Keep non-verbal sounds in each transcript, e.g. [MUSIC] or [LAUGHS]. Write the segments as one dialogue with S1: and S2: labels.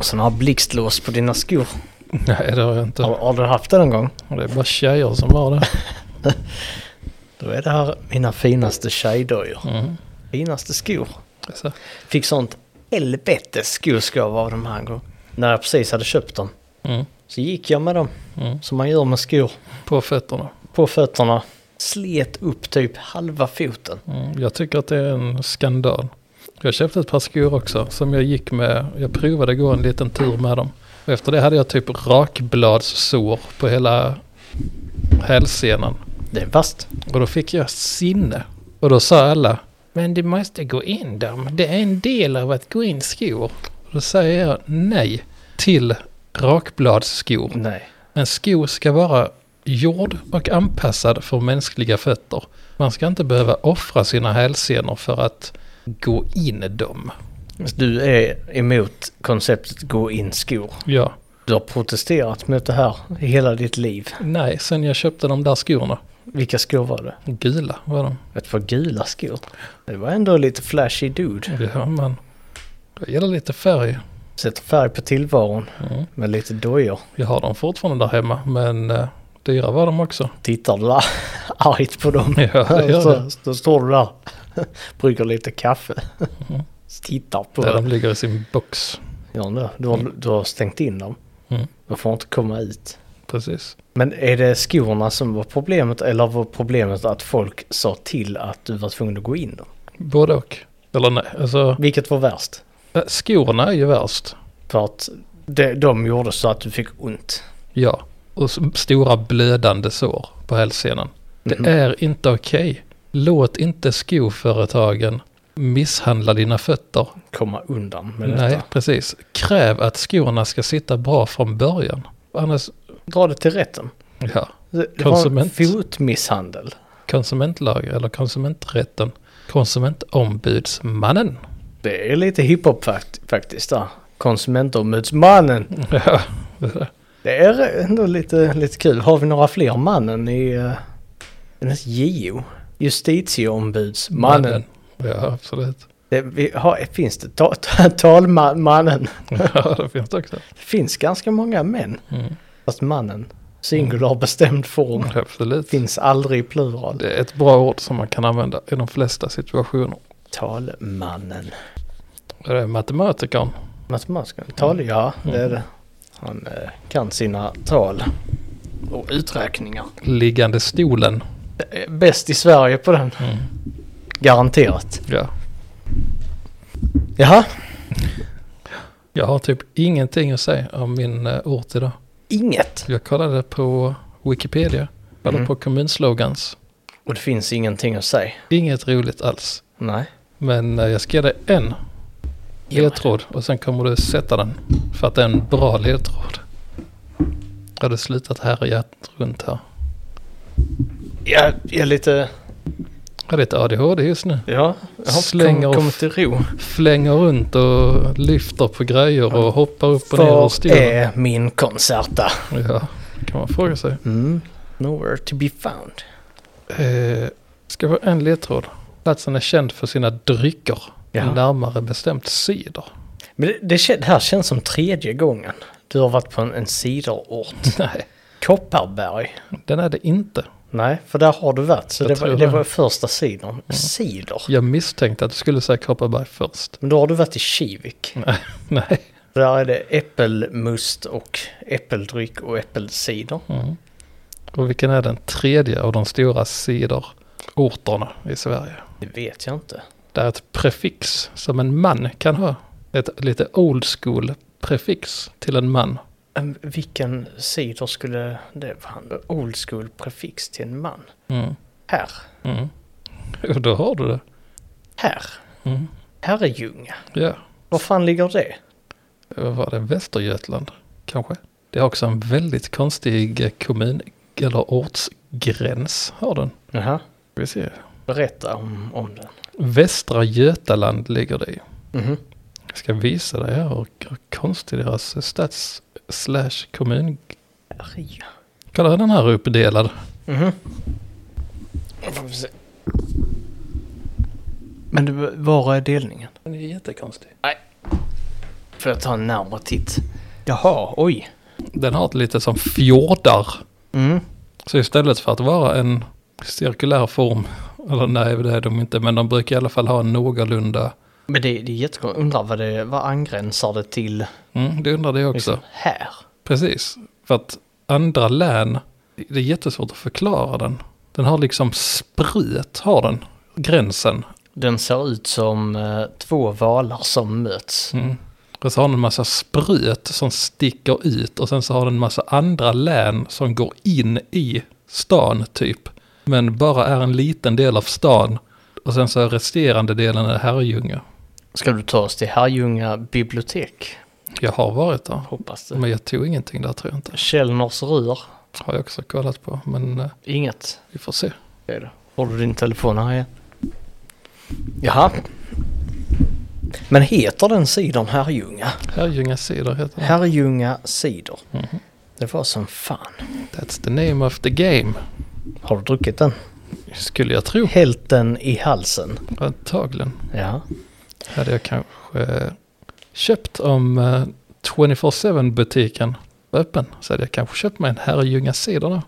S1: Sådana här blixtlås på dina skor.
S2: Nej, det har jag inte.
S1: Har, har du haft det någon gång?
S2: Och det är bara tjejer som har [LAUGHS] det.
S1: Då är det här mina finaste tjejdojor.
S2: Mm.
S1: Finaste skor.
S2: Så.
S1: Fick sånt helvetes skoskav av dem här en gång. När jag precis hade köpt dem.
S2: Mm.
S1: Så gick jag med dem,
S2: Mm.
S1: som man gör med skor,
S2: På fötterna.
S1: på fötterna. Slet upp typ halva foten.
S2: Mm, jag tycker att det är en skandal. Jag köpte ett par skor också som jag gick med. Jag provade gå en liten tur med dem. Och efter det hade jag typ rakbladssår på hela hälsenan.
S1: Det är värst.
S2: Och då fick jag sinne. Och då sa alla. Men du måste gå in dem. Det är en del av att gå in skor. Och då säger jag nej till rakbladsskor.
S1: Nej.
S2: En sko ska vara gjord och anpassad för mänskliga fötter. Man ska inte behöva offra sina hälsenor för att gå in dem.
S1: Du är emot konceptet gå in skor.
S2: Ja,
S1: Du har protesterat mot det här i hela ditt liv.
S2: nej, sen jag köpte de där skorna.
S1: Vilka skor var det?
S2: Gula var de.
S1: Ett par gula skor. Det var ändå lite flashy dude.
S2: Det hör man. Jag gillar lite färg.
S1: Sätter färg på tillvaron
S2: Mm.
S1: med lite dojor.
S2: Jag har dem fortfarande där hemma, men eh, dyra var de också. [LAUGHS]
S1: Tittar la- [LAUGHS] argt på dem.
S2: Ja, det gör
S1: så,
S2: det.
S1: så står du där. [LAUGHS] Brygger lite kaffe. [LAUGHS]
S2: Mm.
S1: Tittar på
S2: Där
S1: dem.
S2: de ligger i sin box.
S1: Ja, nu. Du, har, du har stängt in dem.
S2: Mm.
S1: De får inte komma ut.
S2: Precis.
S1: Men är det skorna som var problemet eller var problemet att folk sa till att du var tvungen att gå in dem?
S2: Både och. Eller nej, alltså
S1: Vilket var värst?
S2: eh, skorna är ju värst.
S1: För att de, de gjorde så att du fick ont.
S2: Ja, och s- stora blödande sår på hälsenan. Det
S1: Mhm.
S2: är inte okej. Låt inte skoföretagen misshandla dina fötter.
S1: Komma undan med
S2: Nej,
S1: detta.
S2: precis. Kräv att skorna ska sitta bra från början. Annars,
S1: Dra det till rätten.
S2: ja,
S1: Det, det var en
S2: Konsument.
S1: fotmisshandel.
S2: konsumentlag eller konsumenträtten. Konsumentombudsmannen.
S1: Det är lite hiphop fakt- faktiskt där. Konsumentombudsmannen.
S2: Ja, det där.
S1: Det är ändå lite, lite kul. Har vi några fler mannen i... eh, Den heter JO. Justitieombudsmannen.
S2: Ja, absolut.
S1: Det, vi har, finns det ta, ta, [LAUGHS] talmannen?
S2: Ja, det finns det också.
S1: Det finns ganska många män.
S2: Mm.
S1: Fast mannen, singular bestämd form,
S2: Absolut.
S1: finns aldrig i plural.
S2: Det är ett bra ord som man kan använda i de flesta situationer.
S1: Talmannen.
S2: Det är matematikern.
S1: Matematikern? Tal, ja det är det. Han eh, kan sina tal och uträkningar.
S2: liggande stolen.
S1: Eh, Bäst i Sverige på den.
S2: Mm.
S1: Garanterat.
S2: Ja.
S1: Jaha,
S2: Jag har typ ingenting att säga om min eh, ort idag.
S1: inget.
S2: Jag kollade på Wikipedia, kollade
S1: Mm.
S2: på kommunslogans.
S1: Och det finns ingenting att säga.
S2: Inget roligt alls.
S1: Nej.
S2: Men eh, jag ska ge dig en
S1: Ja.
S2: ledtråd och sen kommer du sätta den. För att det är en bra ledtråd. Jag hade slutat härja runt här.
S1: Jag jag är lite...
S2: Jag har lite ADHD just nu.
S1: Ja, jag har inte
S2: Slänger
S1: kom-
S2: off.
S1: kommit till ro.
S2: Flänger runt och lyfter på grejer och hoppar upp och ner ur
S1: Var
S2: stolen.
S1: är min konserta?
S2: Ja, kan man fråga sig.
S1: Mm. Nowhere to be found.
S2: Eh, ska vara en ledtråd. Platsen är känd för sina drycker.
S1: Jaha.
S2: Närmare bestämt cider. [LAUGHS]
S1: Men det, det, kän- det här känns som tredje gången du har varit på en, en siderort.
S2: Nej,
S1: Kopparberg?
S2: den är det inte.
S1: Nej, för där har du varit. Så
S2: Jag
S1: det var,
S2: tror
S1: det
S2: det.
S1: var första sidern. Cider?
S2: Jag misstänkte att du skulle säga Kopparberg först. [LAUGHS]
S1: Men då har du varit i Kivik.
S2: Nej, nej.
S1: Där är det äppelmust och äppeldryck och äppelcider.
S2: Mm. Och vilken är den tredje av de stora ciderorterna i Sverige?
S1: Det vet jag inte.
S2: Det är ett prefix som en man kan ha. Ett lite old school prefix till en man.
S1: Men Ehm, Vilken cider skulle det vara? Old school prefix till en man.
S2: Mm.
S1: Här.
S2: Mm. [LAUGHS] Och då har du det.
S1: Här.
S2: Mm.
S1: Herrljunga.
S2: Ja.
S1: Var fan ligger det?
S2: Vad var det, Västergötland kanske? Det är också en väldigt konstig eh, kommun eller ortsgräns har den.
S1: Jaha.
S2: Vi ser.
S1: Berätta om, om den.
S2: Västra Götaland ligger det i.
S1: Mhm.
S2: Jag ska visa dig här och hur konstig deras stads slash kommun.
S1: Herrljunga.
S2: Kolla hur den här är uppdelad.
S1: Mhm. Då får vi se. Men du, var är delningen?
S2: Den är jättekonstig.
S1: Nej. Får jag ta en närmare titt? Jaha, oj.
S2: Den har ett lite som fjordar.
S1: Mm.
S2: Så istället för att vara en cirkulär form, eller nej det är de inte, men de brukar i alla fall ha en någorlunda,
S1: Men det, det är jättekonstigt. Undrar vad det vad angränsar det till
S2: mm, det undrar det också.
S1: liksom, här?
S2: Precis, för att andra län, det är jättesvårt att förklara den. Den har liksom sprut, har den, gränsen.
S1: Den ser ut som eh, två valar som möts.
S2: Mm. Och så har den en massa sprut som sticker ut och sen så har den en massa andra län som går in i stan typ. Men bara är en liten del av stan. Och sen så är resterande delen är Herrljunga.
S1: Ska du ta oss till Herrljunga bibliotek?
S2: Jag har varit där.
S1: Hoppas det.
S2: Men jag tog ingenting där tror jag inte.
S1: Källners rör?
S2: Har jag också kollat på. Men eh,
S1: Inget.
S2: vi får se.
S1: Det är det. Har du din telefon här igen? Jaha. Men heter den sidan Herrljunga?
S2: Herrljunga Cider heter den.
S1: Herrljunga cider.
S2: Mhm.
S1: Det var som fan.
S2: That's the name of the game.
S1: Har du druckit den?
S2: Skulle jag tro.
S1: Hällt den i halsen.
S2: Antagligen.
S1: Ja.
S2: hade jag kanske eh, köpt om eh, 24-7 butiken var öppen. Så hade jag kanske köpt mig en Herrljunga cider då.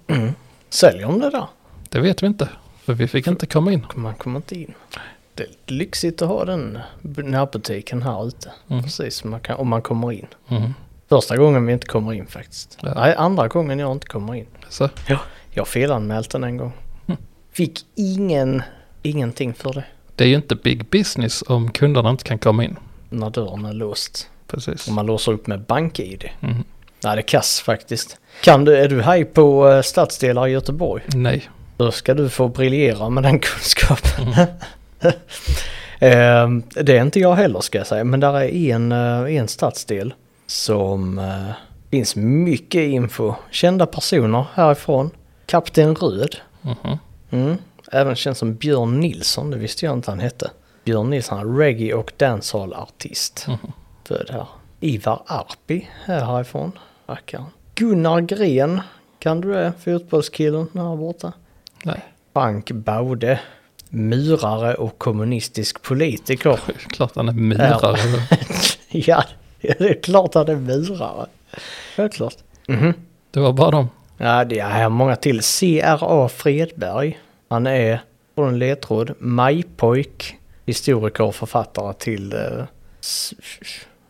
S1: Säljer de det där?
S2: Det vet vi inte. För vi fick inte komma in.
S1: Man kommer inte in. Det är lite lyxigt att ha den b- närbutiken här ute.
S2: Mm.
S1: Precis, man kan, om man kommer in.
S2: Mhm.
S1: Första gången vi inte kommer in faktiskt.
S2: Ja.
S1: Nej, andra gången jag inte kommer in.
S2: Så,
S1: Jag felanmält den en gång.
S2: Mm.
S1: Fick ingen, ingenting för det.
S2: det är ju inte big business om kunderna inte kan komma in.
S1: När dörren är låst.
S2: Precis.
S1: Och man låser upp med bank-id.
S2: Mhm.
S1: Nej, det är kass faktiskt. Kan du, är du haj på eh, stadsdelar i Göteborg?
S2: Nej.
S1: Då ska du få briljera med den [LAUGHS] kunskapen. [LAUGHS] Ehm, det är inte jag heller ska jag säga, men där är en, eh, en stadsdel som eh, finns mycket info. Kända personer härifrån. Kapten Röd.
S2: Mhm.
S1: Mm. Även känd som Björn Nilsson, det visste jag inte han hette. Björn Nilsson, han är reggae och dancehall-artist.
S2: Mhm.
S1: Född här. Ivar Arpi är härifrån. Rackaren. Gunnar Gren, kan du det? Fotbollskillen här borta.
S2: Nej.
S1: Frank Baude. Murare och kommunistisk politiker. [LAUGHS]
S2: Klart han är murare.
S1: ja, det är klart han är murare. Självklart. Mhm.
S2: Det var bara dem.
S1: Ja, det är här många till. C.R.A. Fredberg. Han är, på en ledtråd, majpojk, historiker och författare till eh, s-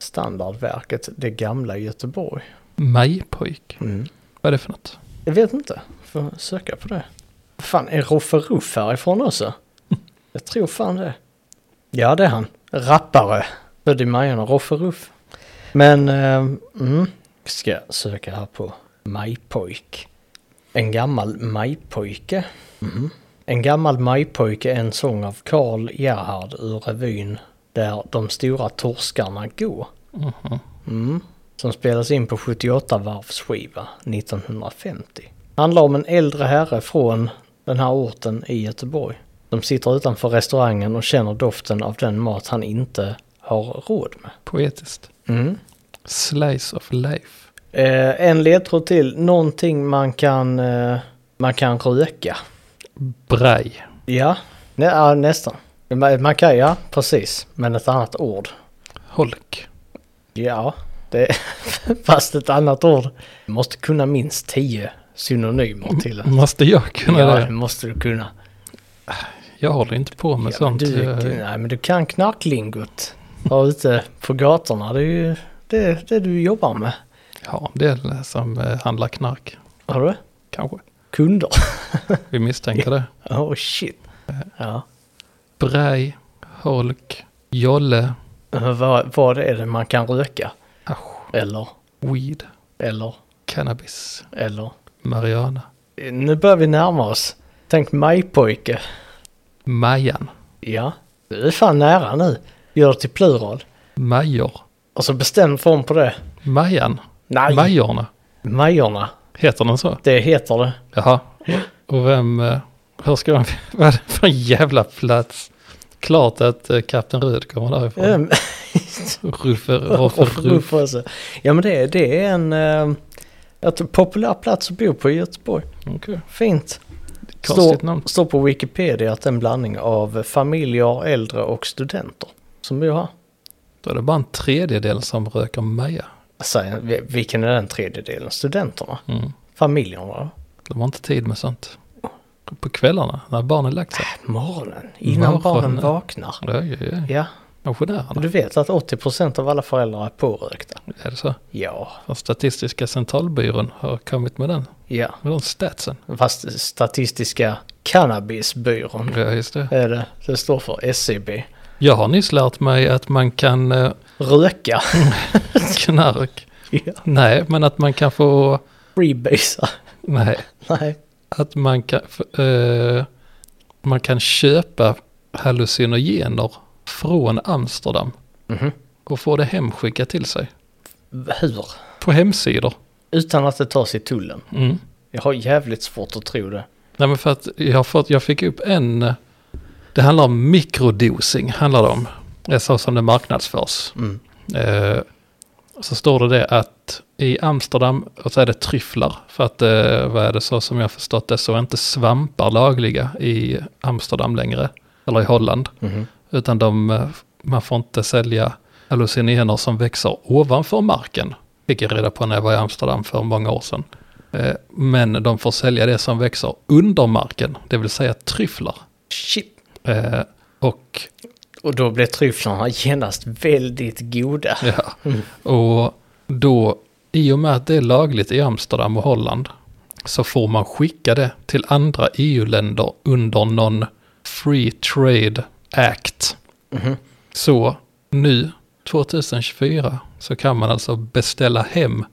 S1: standardverket Det gamla Göteborg.
S2: Majpojk.
S1: Mm.
S2: Vad är det för något?
S1: Jag vet inte, får söka på det. Fan, är Roffe Ruff härifrån också? Jag tror fan det. Ja, det är han. Rappare. Född i Majorna, Roffe Ruff. Men, eh, mm, ska jag söka här på Majpojk. En gammal majpojke. Mm. En gammal majpojke är en sång av Karl Gerhard ur revyn Där de stora torskarna går.
S2: Mhm.
S1: Mm. Som spelas in på 78 varvsskiva 1950. Handlar om en äldre herre från den här orten i Göteborg. De sitter utanför restaurangen och känner doften av den mat han inte har råd med.
S2: Poetiskt.
S1: Mm.
S2: Slice of life.
S1: Eh, en ledtråd till, någonting man kan, eh, man kan röka.
S2: Braj.
S1: Ja, Nä, ja nästan. Man, man kan, ja precis, men ett annat ord.
S2: Holk.
S1: Ja, det [LAUGHS] fast ett annat ord. Du måste kunna minst tio synonymer till en.
S2: Måste jag kunna
S1: Ja, det
S2: det?
S1: måste du kunna.
S2: Jag håller inte på med
S1: Ja,
S2: sånt.
S1: Du,
S2: Jag-
S1: du, nej, men du kan knarklingot. Där ute på gatorna. Det är ju det, det du jobbar med.
S2: Ja, det är som eh, handlar knark,
S1: Har du?
S2: kanske.
S1: Kunder. [LAUGHS]
S2: Vi misstänker det.
S1: Oh shit. Ja.
S2: Brej, holk, jolle,
S1: Eh, Vad, vad är det man kan röka?
S2: asch,
S1: Eller,
S2: weed,
S1: eller,
S2: cannabis,
S1: eller.
S2: marijuana,
S1: Eh, Nu börjar vi närma oss. Tänk majpojke.
S2: majan,
S1: Ja, du är fan nära nu. Gör det till plural.
S2: major,
S1: Och så bestämd form på det.
S2: majan,
S1: Nej.
S2: majorna.
S1: Majorna.
S2: Heter den så?
S1: Det heter det.
S2: Jaha. Och vem, eh, hur ska man, [LAUGHS] vad är det för en jävla plats? Klart att eh, Kapten Röd kommer därifrån.
S1: Mm.
S2: Ruffer,
S1: [LAUGHS] Och
S2: roffer, ruff.
S1: Ruffe också. Ja men det, det är en eh, ett populär plats att bo på i Göteborg.
S2: Okej.
S1: Fint.
S2: Konstigt namn.
S1: Står på Wikipedia att det är en blandning av familjer, äldre och studenter som bor här.
S2: tror jag det är bara en tredjedel som röker maja.
S1: Alltså, vi- vilken är den tredjedelen? Studenterna?
S2: Mm.
S1: Familjerna? va?
S2: De har inte tid med sånt. På kvällarna när barnen lagt sig.
S1: Äh, Morgonen? Innan
S2: Morgonen.
S1: barnen vaknar?
S2: Röker
S1: Ja,
S2: pensionärerna.
S1: du vet att 80% av alla föräldrar är pårökta?
S2: Är det så?
S1: Ja,
S2: För Statistiska centralbyrån har kommit med den.
S1: ja.
S2: Med de statsen.
S1: Fast Statistiska Cannabisbyrån
S2: Ja, just det.
S1: är det. Det står för SCB.
S2: Jag har nyss lärt mig att man kan eh, [LAUGHS]
S1: Röka. [LAUGHS]
S2: knark.
S1: Ja.
S2: Nej, men att man kan få...
S1: Freebasea.
S2: Nej,
S1: [LAUGHS] Nej.
S2: att man kan... f- eh, man kan köpa hallucinogener från Amsterdam
S1: Mhm.
S2: och få det hemskickat till sig.
S1: Hur?
S2: På hemsidor.
S1: Utan att det tas i tullen.
S2: Mm.
S1: Jag har jävligt svårt att tro det.
S2: Nej men för att jag, har fått, jag fick upp en, eh, det handlar om mikrodosing, handlar det om. Det är så som det marknadsförs.
S1: Mm.
S2: Eh, så står det det att i Amsterdam, och så är det tryfflar, för att eh, vad är det så som jag har förstått det så är inte svampar lagliga i Amsterdam längre, eller i Holland,
S1: Mhm.
S2: utan de, eh, man får inte sälja hallucinogener som växer ovanför marken, fick jag reda på när jag var i Amsterdam för många år sedan. Eh, Men de får sälja det som växer under marken, det vill säga tryfflar.
S1: Shit.
S2: Eh, Och,
S1: Och då blir tryfflarna genast väldigt goda.
S2: ja, och då, i och med att det är lagligt i Amsterdam och Holland, så får man skicka det till andra EU-länder under någon Free Trade Act.
S1: Mhm.
S2: Så nu, 2024, så kan man alltså beställa hem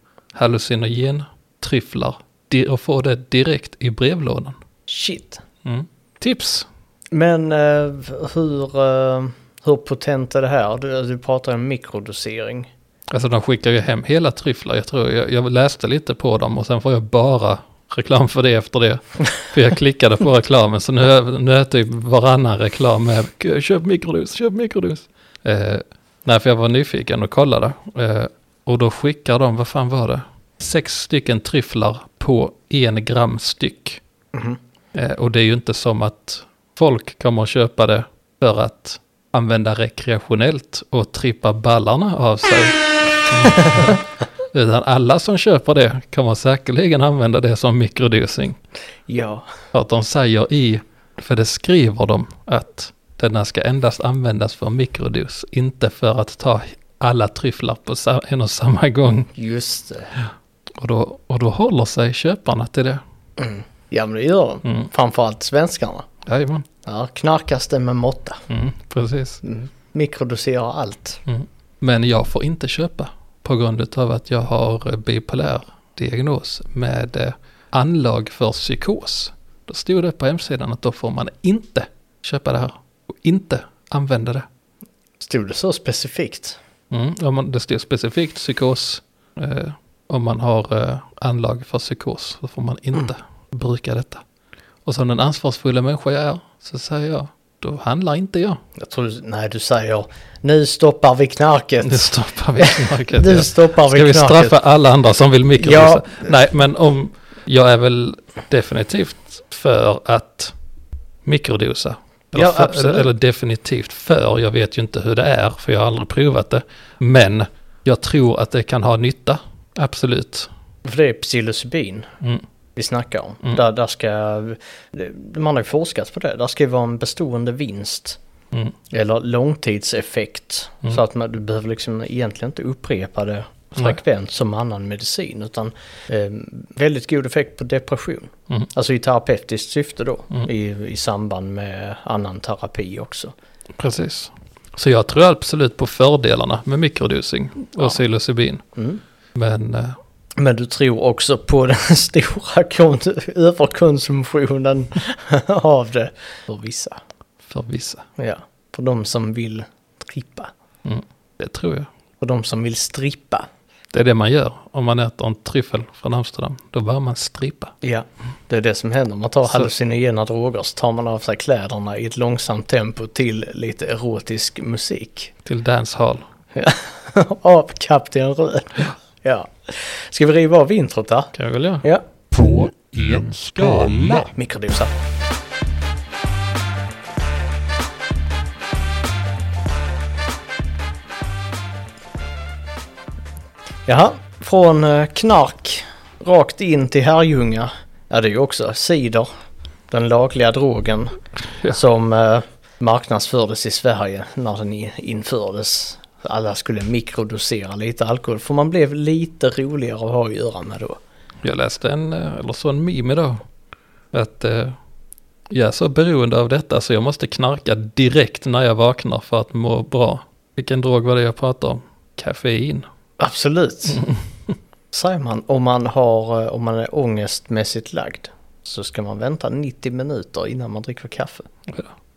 S2: hallucinogen-tryfflar di- och få det direkt i brevlådan.
S1: Shit.
S2: Mm. Tips!
S1: Men eh, hur, eh, hur potent är det här? Du, du pratar om mikrodosering.
S2: Alltså de skickar ju hem hela tryfflar, jag tror jag, jag läste lite på dem och sen får jag bara reklam för det efter det. För jag klickade på reklamen så nu, nu är typ varannan reklam med köp mikrodos, köp mikrodos. Eh, nej, för jag var nyfiken och kollade. Eh, och då skickar de, vad fan var det? Sex stycken tryfflar på en gram styck.
S1: Mhm.
S2: Eh, och det är ju inte som att folk kommer att köpa det för att använda rekreationellt och trippa ballarna av sig. Utan alla som köper det kommer säkerligen använda det som mikrodosing.
S1: Ja.
S2: För att de säger i, för det skriver de, att denna ska endast användas för mikrodos, inte för att ta alla tryfflar på sa- en och samma gång.
S1: Just det.
S2: Och då, och då håller sig köparna till det.
S1: Ja men det gör de.
S2: Mm.
S1: Framförallt svenskarna.
S2: Jajamän,
S1: Ja, knarkas det med måtta.
S2: mm, precis.
S1: Mikrodoserar allt.
S2: Men jag får inte köpa på grund av att jag har bipolär diagnos med eh, anlag för psykos. Då stod det på hemsidan att då får man inte köpa det här och inte använda det.
S1: Stod det så specifikt?
S2: Mm, om man, det står specifikt psykos. Eh, om man har eh, anlag för psykos så får man inte [CLEARS THROAT] bruka detta. Och som den ansvarsfulla människa jag är så säger jag, då handlar inte jag.
S1: Jag tror, du- nej du säger nu stoppar vi knarket.
S2: Nu stoppar [LAUGHS] vi knarket.
S1: Nu
S2: ja.
S1: stoppar vi
S2: Ska vi
S1: knarket.
S2: straffa alla andra som vill mikrodosa?
S1: Ja.
S2: Nej, men om jag är väl definitivt för att mikrodosa. Eller,
S1: Ja,
S2: för,
S1: absolut.
S2: eller definitivt för, jag vet ju inte hur det är för jag har aldrig provat det. Men jag tror att det kan ha nytta, absolut.
S1: För det är psilocybin
S2: Mm.
S1: vi snackar om.
S2: Mm.
S1: Där, där ska, man har ju forskat på det, där ska ju vara en bestående vinst.
S2: Mm.
S1: Eller långtidseffekt.
S2: Mm.
S1: Så att man, du behöver liksom egentligen inte upprepa det
S2: Nej.
S1: frekvent som annan medicin. Utan eh, väldigt god effekt på depression.
S2: Mm.
S1: Alltså i terapeutiskt syfte då.
S2: Mm.
S1: I, I samband med annan terapi också.
S2: Precis. Så jag tror absolut på fördelarna med mikrodosing och
S1: Ja.
S2: psilocybin.
S1: Mm.
S2: Men eh,
S1: Men du tror också på den stora kon- överkonsumtionen [LAUGHS] av det. För vissa.
S2: för vissa,
S1: Ja, för de som vill trippa.
S2: det tror jag.
S1: För de som vill strippa.
S2: Det är det man gör om man äter en tryffel från Amsterdam. Då bör man strippa.
S1: Ja, det är det som händer. Man tar
S2: Så-
S1: hallucinogena droger så tar man av sig kläderna i ett långsamt tempo till lite erotisk musik.
S2: Till dancehall.
S1: [LAUGHS] av Kapten Röd. Ja. Ska vi riva av introt där?
S2: Kan vi väl göra.
S1: Ja.
S3: på en skala.
S1: Mikrodosa. Jaha, från eh, knark rakt in till Herrljunga. Ja, det är ju också cider. Den lagliga drogen
S2: Ja.
S1: som eh, marknadsfördes i Sverige när den i- infördes. Alla skulle mikrodosera lite alkohol för man blev lite roligare att ha att göra med då.
S2: Jag läste en, eh, eller så en meme idag. Att eh, jag är så beroende av detta så jag måste knarka direkt när jag vaknar för att må bra. Vilken drog var det jag pratade om? Koffein.
S1: Absolut. [LAUGHS] Säger man om man, har, eh, om man är ångestmässigt lagd så ska man vänta 90 minuter innan man dricker kaffe.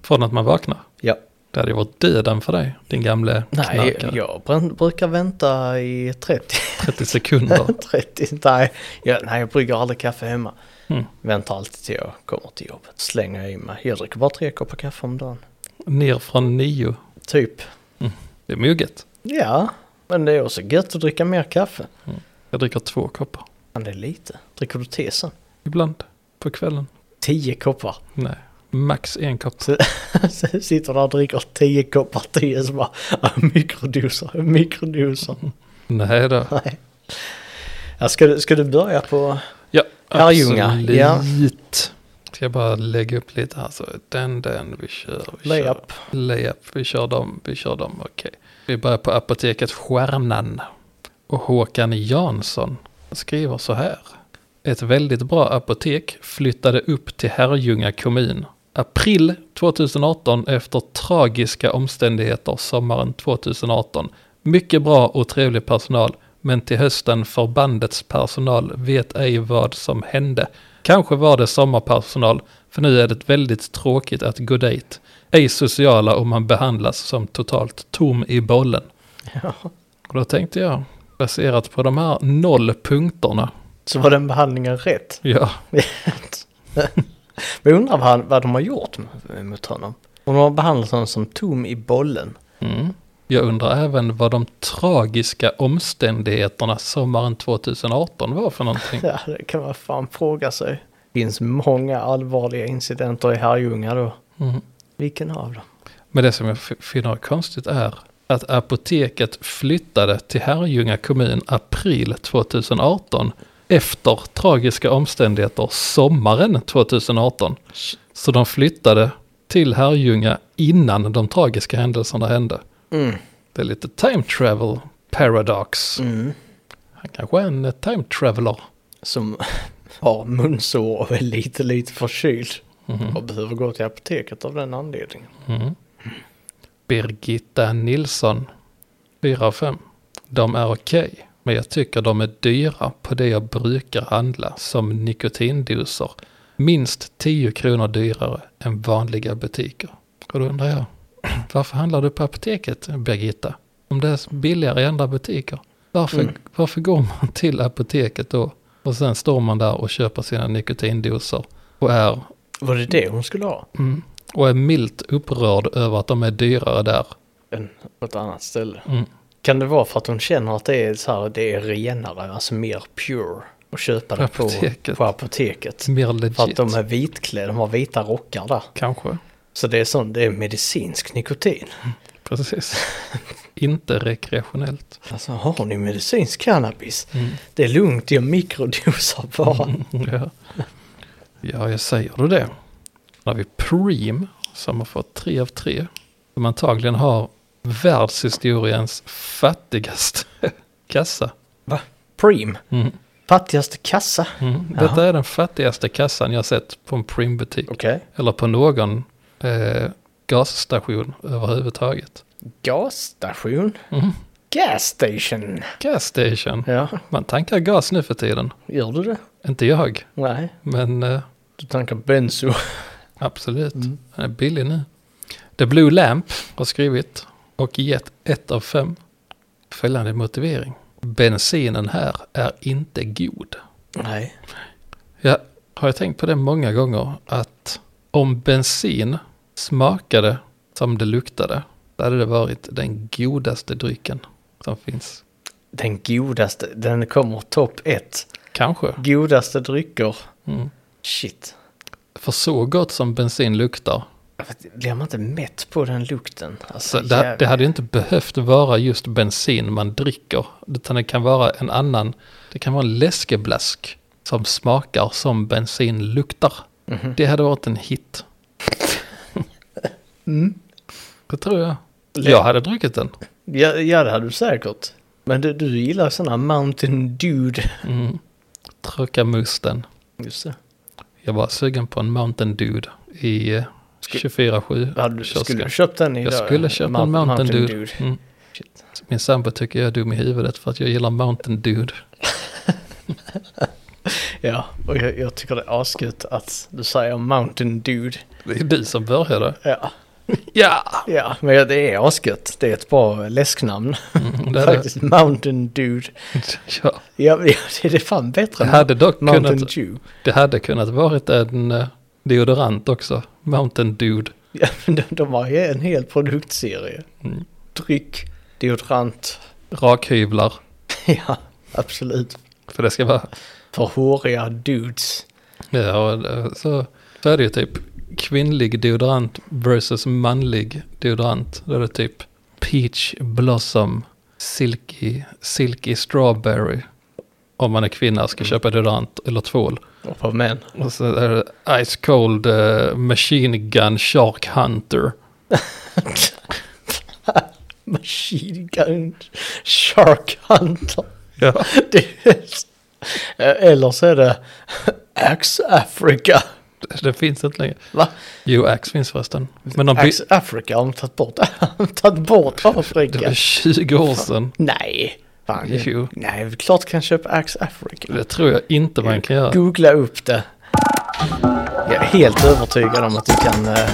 S2: Från att man vaknar.
S1: Ja.
S2: Det hade ju varit döden för dig, din gamle
S1: Nej,
S2: knarkare.
S1: jag brän- brukar vänta i 30
S2: 30 sekunder.
S1: [LAUGHS] 30, nej, jag, nej, jag brygger aldrig kaffe hemma.
S2: Mm.
S1: Väntar alltid till jag kommer till jobbet. Slänger jag i mig. Jag dricker bara tre koppar kaffe om dagen.
S2: Ner från nio.
S1: Typ.
S2: Det är mugget.
S1: Ja, men det är också gött att dricka mer kaffe.
S2: Jag dricker två koppar.
S1: Men det är lite. Dricker du te sen?
S2: Ibland. På kvällen.
S1: Tio koppar.
S2: Nej. Max en kopp.
S1: Sen [LAUGHS] Sitter där och dricker tio koppar te så bara ah, mikrodoser, mikrodoser.
S2: Nej då.
S1: Nej. Ja, ska, du, ska du börja på...
S2: Ja,
S1: Herrljunga,
S2: absolut.
S1: ja.
S2: Ska jag bara lägga upp lite här så den, den, vi kör, vi kör.
S1: Layup.
S2: Layup, vi kör dem, vi kör dem, okej. Vi börjar på apoteket Stjärnan. Och Håkan Jansson skriver så här. Ett väldigt bra apotek flyttade upp till Herrljunga kommun. April 2018 efter tragiska omständigheter sommaren 2018. Mycket bra och trevlig personal, men till hösten förbandets personal vet ej vad som hände. Kanske var det sommarpersonal, för nu är det väldigt tråkigt att gå dit. Ej sociala och man behandlas som totalt tom i bollen.
S1: Ja.
S2: Och då tänkte jag, baserat på de här noll punkterna,
S1: Så var den behandlingen rätt.
S2: ja,
S1: Men jag undrar vad, han, vad de har gjort m- mot honom. Om de har behandlat honom som tom i bollen.
S2: Mm. Jag undrar även vad de tragiska omständigheterna sommaren 2018 var för någonting.
S1: Ja, det kan man fan fråga sig. Det finns många allvarliga incidenter i Herrljunga då.
S2: Mm.
S1: Vilken av dem?
S2: Men det som jag f- finner konstigt är att apoteket flyttade till Herrljunga kommun april 2018 efter tragiska omständigheter sommaren 2018. Så de flyttade till Herrljunga innan de tragiska händelserna hände.
S1: Mm.
S2: Det är lite time travel paradox.
S1: Mm.
S2: Han kanske är en eh, time traveler.
S1: Som [LAUGHS] har munsår och är lite, lite förkyld.
S2: Mhm.
S1: Och behöver gå till apoteket av den anledningen.
S2: Mm. Birgitta Nilsson, 4 av 5. De är okej, men jag tycker de är dyra på det jag brukar handla som nikotindoser. Minst 10 kronor dyrare än vanliga butiker. Och då undrar jag, [CLEARS THROAT] varför handlar du på apoteket, Birgitta? Om det är billigare i andra butiker, varför,
S1: Mm.
S2: varför går man till apoteket då? Och sen står man där och köper sina nikotindoser och är
S1: Var det det hon skulle ha?
S2: Mm. Och är milt upprörd över att de är dyrare där.
S1: Än på ett annat ställe.
S2: Mm.
S1: Kan det vara för att hon känner att det är så här, det är renare, alltså mer pure. Och köpa det på,
S2: Apoteket.
S1: på apoteket.
S2: Mer legit.
S1: För att de är vitklädda, de har vita rockar där.
S2: Kanske.
S1: Så det är sån, det är medicinsk nikotin.
S2: Precis. [LAUGHS] Inte rekreationellt.
S1: Alltså har ni medicinsk cannabis?
S2: Mm.
S1: Det är lugnt, jag mikrodosar bara.
S2: Ja. ja, jag säger du det. Då har vi Preem som har fått tre av tre. Som antagligen har världshistoriens fattigaste [LAUGHS] kassa.
S1: Preem,
S2: Mm.
S1: fattigaste kassa.
S2: Mm. Detta är den fattigaste kassan jag sett på en Preem-butik.
S1: Okej.
S2: Eller på någon eh, gasstation överhuvudtaget.
S1: Gasstation.
S2: Mm.
S1: Gas station.
S2: Gasstation.
S1: Ja,
S2: Man tankar gas nu för tiden.
S1: gör du det?
S2: Inte jag,
S1: Nej,
S2: men eh,
S1: du tankar benzo.
S2: absolut.
S1: Mm.
S2: Den är billig nu. The Blue Lamp har skrivit och gett ett av fem. Följande motivering. Bensinen här är inte god.
S1: Nej.
S2: Jag har jag tänkt på det många gånger att om bensin smakade som det luktade, då hade det varit den godaste drycken som finns.
S1: Den godaste, den kommer topp ett.
S2: Kanske.
S1: Godaste drycker.
S2: Mm.
S1: Shit.
S2: För så gott som bensin luktar
S1: Blir man inte mätt på den lukten? Alltså,
S2: Så det, det
S1: jävlar.
S2: hade ju inte behövt vara just bensin man dricker. Utan det kan vara en annan, det kan vara en läskeblask som smakar som bensin luktar.
S1: Mhm.
S2: Det hade varit en hit.
S1: [LAUGHS] Mm.
S2: Det tror jag.
S1: Lä-
S2: Jag hade druckit den.
S1: Ja, ja, det hade du säkert. Men du, du gillar sådana Mountain Dude.
S2: Mm. Tröka musten.
S1: Just det.
S2: Jag var sugen på en Mountain Dude i eh,
S1: Sku-
S2: 24-7
S1: Hade du, skulle
S2: kiosken.
S1: du köpt den idag?
S2: Jag skulle köpa en
S1: Mount-
S2: Mountain Dude. Mm.
S1: Shit.
S2: Min sambo tycker jag är dum i huvudet för att jag gillar Mountain Dude.
S1: Ja, och jag, jag tycker det är asgött att du säger Mountain Dude.
S2: Det är du som började.
S1: Ja,
S2: Ja!
S1: ja men det är asgött. Det är ett bra läsknamn.
S2: Mm, det
S1: [LAUGHS]
S2: hade,
S1: Faktiskt, Mountain Dude.
S2: [LAUGHS] ja.
S1: Ja, ja, [LAUGHS] det är fan
S2: Det
S1: bättre än
S2: hade dock
S1: Mountain
S2: kunnat,
S1: Dew.
S2: det hade kunnat varit en eh, deodorant också. Mountain Dude.
S1: Ja, men de, de har ju en hel produktserie.
S2: Mm.
S1: Dryck, deodorant. [LAUGHS]
S2: Rakhyvlar.
S1: Ja, absolut.
S2: För det ska vara...
S1: För håriga dudes.
S2: Ja, och, eh, så, så är det ju typ kvinnlig deodorant versus manlig deodorant. Då är det typ peach blossom, silky, silky strawberry. Om man är kvinna och ska köpa deodorant eller tvål.
S1: Och för män.
S2: Och så är det ice cold eh, machine gun shark hunter.
S1: Machine Gun Shark Hunter.
S2: [LAUGHS] Ja.
S1: Det är, eller så är det Axe Africa.
S2: Det finns inte längre.
S1: Va?
S2: Jo, Axe finns förresten. Men de, by-
S1: Axe Africa har de tagit bort. [LAUGHS] Har de tagit bort
S2: Det var
S1: Afrika?
S2: 20 år sedan.
S1: Nej. Fan, det-
S2: Jo.
S1: Nej, det är klart kan köpa Axe Africa.
S2: Det tror jag inte man kan göra.
S1: Googla upp det. Jag är helt övertygad om att du kan eh,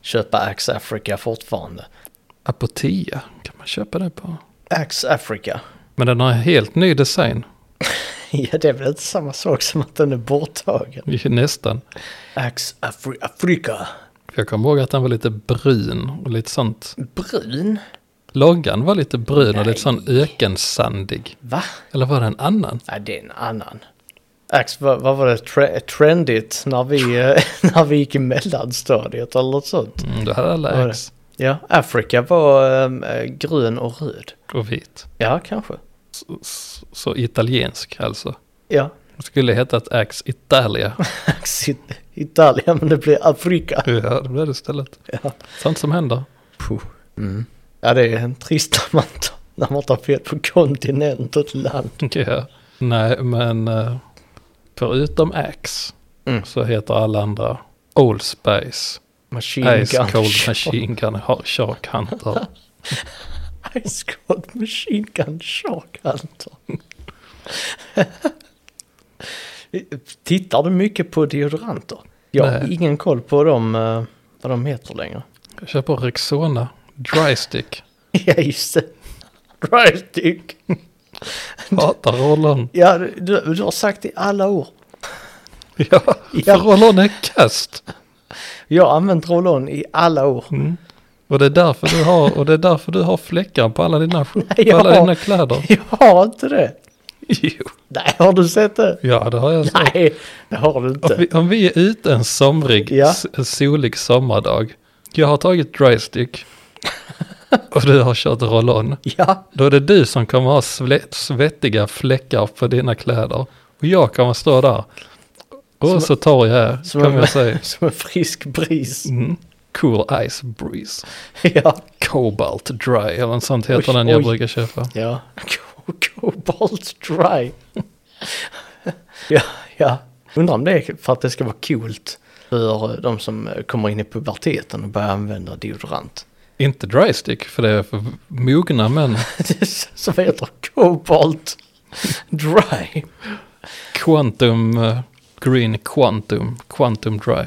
S1: köpa Axe Africa fortfarande.
S2: Apotea kan man köpa det på.
S1: Axe Africa. [LAUGHS]
S2: Men den har en helt ny design. [LAUGHS]
S1: Ja, det är väl inte samma sak som att den är borttagen.
S2: Nästan.
S1: Axe Afri- Africa.
S2: Jag kommer ihåg att den var lite brun och lite sånt.
S1: Brun?
S2: Loggan var lite brun och
S1: Nej.
S2: lite sån ökensandig.
S1: Va?
S2: Eller var det en annan?
S1: Nej, det är en annan. Ax, vad, vad var det tre- trendigt när vi, [LAUGHS] eh, när vi gick i mellanstadiet eller något sånt?
S2: Mm, då hade
S1: Vad var
S2: alla
S1: det?
S2: Axe.
S1: Ja, Afrika var ehm, eh, grön och röd.
S2: Och vit.
S1: Ja, kanske.
S2: Så, så- så italiensk alltså.
S1: Ja, [LAUGHS]
S2: Det skulle heta ett Axe Italia.
S1: Ax i Italien, men det blir Afrika.
S2: [LAUGHS] ja, det blev det istället.
S1: Ja.
S2: Sånt som händer. Mm.
S1: ja, det är en trist när man, tar- när man tar fel på kontinent och ett land.
S2: Ja. Nej, men eh, förutom Axe
S1: Mm.
S2: så heter alla andra Old Spice,
S1: Machine
S2: Ice
S1: gun.
S2: Cold Machine Gun, Har- Shark Hunter.
S1: Ice Cold Machine Gun Shark Hunter. [LAUGHS] Tittar du mycket på deodoranter? Jag har
S2: Nej.
S1: ingen koll på dem, eh, vad de heter längre. [LAUGHS]
S2: Jag köper Rexona, Dry Stick,
S1: ja, just det. Right, Dick.
S2: hatar rollen.
S1: Ja, du, du har sagt det i alla år.
S2: Ja,
S1: Ja.
S2: för rollen är kast.
S1: Jag har använt roll-on i alla år. [LAUGHS]
S2: Mm. Och det är därför du har, och det är därför du har fläckar på alla dina,
S1: [LAUGHS] Nej,
S2: på alla
S1: jag- [LAUGHS]
S2: dina kläder.
S1: Jag har inte det.
S2: Jo.
S1: Nej, har du sett det?
S2: Ja, det har jag
S1: [LAUGHS]
S2: sagt.
S1: Nej, det har du
S2: Om
S1: inte.
S2: vi, om vi är ute en somrig,
S1: Ja.
S2: s- en solig sommardag. Jag har
S1: [LAUGHS]
S2: tagit drystick och du har kört roll-on.
S1: Ja,
S2: Då är det du som kommer ha sle- svettiga fläckar på dina kläder. Och jag kommer stå där.
S1: Som-
S2: Och så tar jag här,
S1: som
S2: kommer
S1: en-
S2: jag säga.
S1: [LAUGHS] som en frisk bris.
S2: Mm. Cool Ice Breeze.
S1: Ja.
S2: Cobalt Dry eller något sånt heter
S1: Oj,
S2: den jag
S1: oj.
S2: brukar köpa.
S1: Ja. Cobalt dry. [LAUGHS] ja, ja. Undrar om det är för att det ska vara coolt för eh, de som kommer in i puberteten och börjar använda deodorant. [LAUGHS]
S2: Inte drystick för det är för mogna män.
S1: Som heter Cobalt dry.
S2: Quantum eh, Green Quantum. Quantum Dry.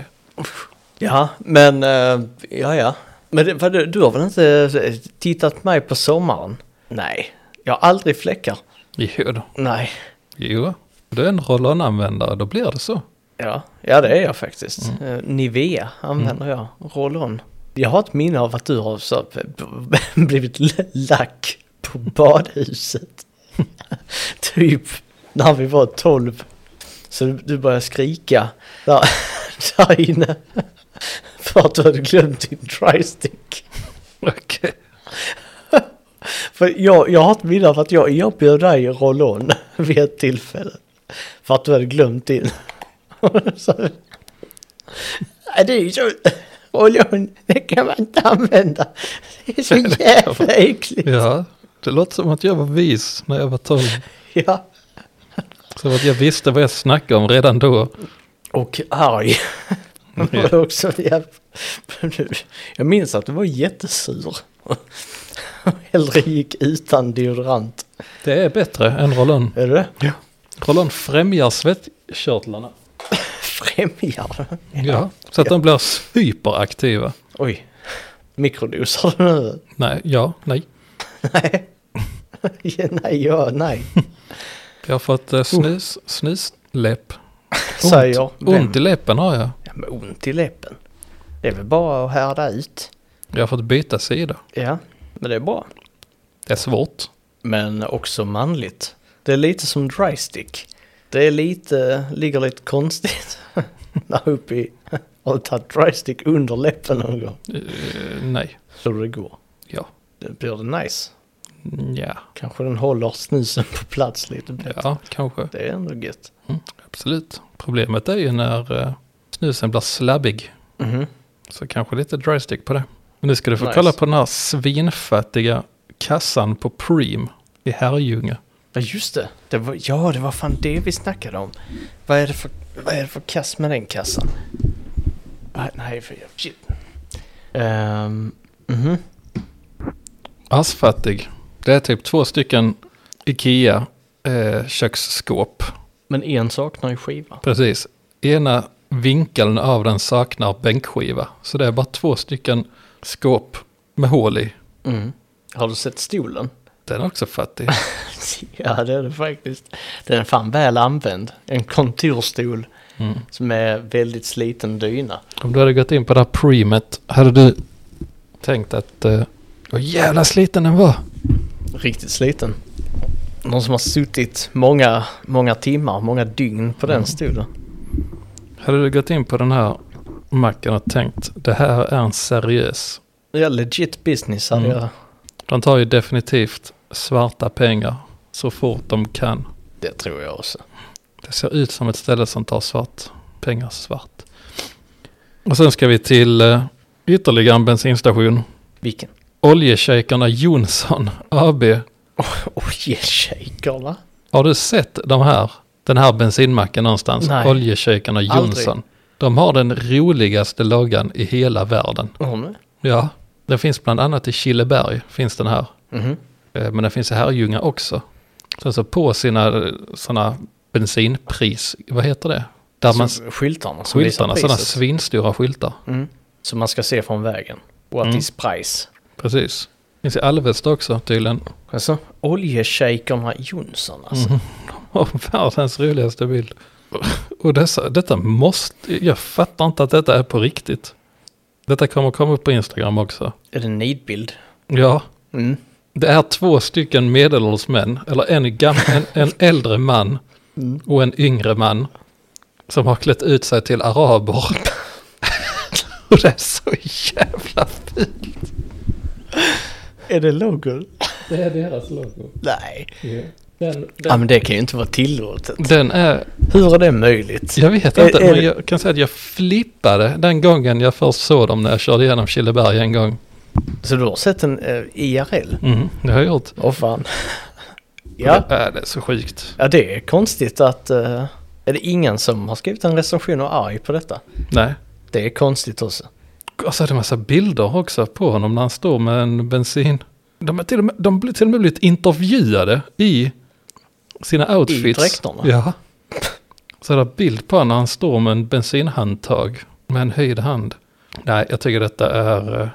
S1: Ja, men eh, ja, ja. Men det, vad, du, du har väl inte eh, tittat på mig på sommaren? Nej, jag har aldrig fläckar.
S2: Jo då.
S1: Nej,
S2: Jo, du är en roll-on-användare, då blir det så.
S1: Ja, ja det är jag faktiskt. Eh, Nivea använder jag, roll-on. Jag har ett minne av att du har så, b- b- [LAUGHS] blivit l- lack på badhuset. typ när vi var 12. [LAUGHS] Så du- du började skrika där, där inne. För klart du hade glömt din drystick.
S2: Okej.
S1: För jag, jag har ett minne av att jag erbjöd dig roll-on vid ett tillfälle. För att du hade glömt din. [LAUGHS] Så, Nej, det är ju så... Roll-on, det kan man inte använda. Det är så jävla äckligt.
S2: Ja, det låter som att jag var vis när jag var tolv.
S1: Ja.
S2: Som att jag visste vad jag snackade om redan då.
S1: Och arg.
S2: Mm.
S1: Det [LAUGHS] var också jävla... Jag minns att du var jättesur. [LAUGHS] Hellre gick utan deodorant.
S2: Det är bättre än Rollon.
S1: Är det? Ja.
S2: Rollon främjar svettkörtlarna.
S1: Främjar.
S2: Ja, så att de blir superaktiva.
S1: Oj. Mikrodosar du nu?
S2: Nej, ja, nej.
S1: Nej. Ja, nej, ja, nej.
S2: Jag har fått eh, snus, snusläpp.
S1: Säger jag.
S2: [LAUGHS] Ont i läppen har jag.
S1: Ja, men ont i läppen. Det är väl bara att härda ut.
S2: Jag har fått byta sida.
S1: Ja, men det är bra.
S2: Det är svårt.
S1: Men också manligt. Det är lite som dry stick. Det är lite, ligger lite konstigt. [LAUGHS] Där uppe i... Har du tagit dry stick under läppen någon gång?
S2: Eh, nej.
S1: Så det går.
S2: Ja.
S1: Det blir det nice.
S2: Ja.
S1: Kanske den håller snusen på plats lite bättre.
S2: Ja, kanske.
S1: Det är ändå gött.
S2: Mm, absolut. Problemet är ju när eh, snusen blir slabbig.
S1: Mhm.
S2: Så kanske lite drystick på det. Men nu ska du få
S1: Nice.
S2: kolla på den här svinfattiga kassan på Preem i Herrljunga.
S1: Ja just det. det var, ja det var fan det vi snackade om. Vad är det för, vad är det för kass med den kassan? Ah, nej för shit. Um, mhm.
S2: Asfattig. Det är typ två stycken Ikea eh, köksskåp.
S1: Men en saknar ju skiva.
S2: Precis. Ena vinkeln av den saknar bänkskiva. Så det är bara två stycken skåp med hål i.
S1: Mm. Har du sett stolen?
S2: Den är också fattig.
S1: [LAUGHS] ja det är det faktiskt. Den är fan väl använd. En konturstol
S2: Mm.
S1: som är väldigt sliten dyna.
S2: Om du hade gått in på det här premet hade du tänkt att eh, vad jävla sliten den var.
S1: Riktigt sliten. Någon som har suttit många, många timmar, många dygn på
S2: Mm.
S1: den stolen.
S2: Hade du gått in på den här macken och tänkt det här är en seriös.
S1: Ja, legit business hade
S2: Mm.
S1: jag.
S2: De tar ju definitivt svarta pengar så fort de kan.
S1: Det tror jag också.
S2: Det ser ut som ett ställe som tar svart pengar svart. Och sen ska vi till eh, ytterligare en bensinstation.
S1: Vilken?
S2: Oljeshejkerna Jonsson AB.
S1: Oljeshakerna?
S2: Har du sett de här, den här bensinmacken någonstans?
S1: Nej.
S2: Oljeshejkerna
S1: Aldrig.
S2: Jonsson. De har den roligaste loggan i hela världen.
S1: Har ni?
S2: Ja, den finns bland annat i Killeberg, finns den här.
S1: Mhm.
S2: Eh, Men den finns i Herrljunga också. Sen så alltså på sina sådana bensinpris, vad heter det? Där man,
S1: Så skyltarna som
S2: skyltarna,
S1: visar
S2: sådana
S1: priset.
S2: svinstora skyltar.
S1: mm. Som man ska se från vägen. What
S2: Mm.
S1: is price?
S2: Precis. Finns i Alvesta också tydligen. [LAUGHS]
S1: Alltså, oljeshakerna Jonsson alltså.
S2: Och världens roligaste bild. Och dessa, detta måste, jag fattar inte att detta är på riktigt. Detta kommer komma upp på Instagram också.
S1: Är det en nidbild?
S2: Ja,
S1: Mm.
S2: det är två stycken medelålders män, eller en, gam, en, en äldre man och en yngre man. Som har klätt ut sig till araber. [LAUGHS] och det är så jävla fint.
S1: Är det logon?
S2: Det är deras logo.
S1: Nej.
S2: Den,
S1: Ja men det kan ju inte vara tillåtet.
S2: den är
S1: Hur är det möjligt?
S2: Jag vet
S1: Är-
S2: inte,
S1: är det-
S2: men jag kan säga att jag flippade den gången jag först såg dem när jag körde igenom Killeberg en gång.
S1: Så du har sett en eh, IRL?
S2: Mm, det har jag gjort.
S1: Åh fan. ja.
S2: Det, är, det är så sjukt.
S1: ja, det är konstigt att... eh, är det ingen som har skrivit en recension och är arg på detta?
S2: Nej.
S1: Det är konstigt också.
S2: Och så är Alltså, det en massa bilder också på honom när han står med en bensin. De har till och med, de blir till och med blivit intervjuade i sina outfits.
S1: dräkterna?
S2: Ja. Så det är bild på honom när han står med en bensinhandtag med en höjd hand. Nej, jag tycker detta är... eh,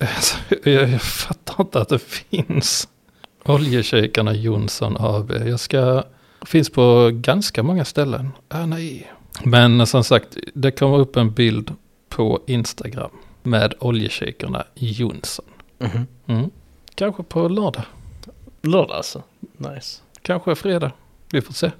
S2: [LAUGHS] Alltså, jag, jag fattar inte att det finns. Oljeshejkarna Jonsson AB. Jag ska... Finns på ganska många ställen. Ah, nej. Men som sagt, det kommer upp en bild på Instagram med oljeshejkarna Jonsson.
S1: Mhm.
S2: Mm. Kanske på lördag,
S1: Lördag alltså? Nice.
S2: kanske fredag. Vi får se.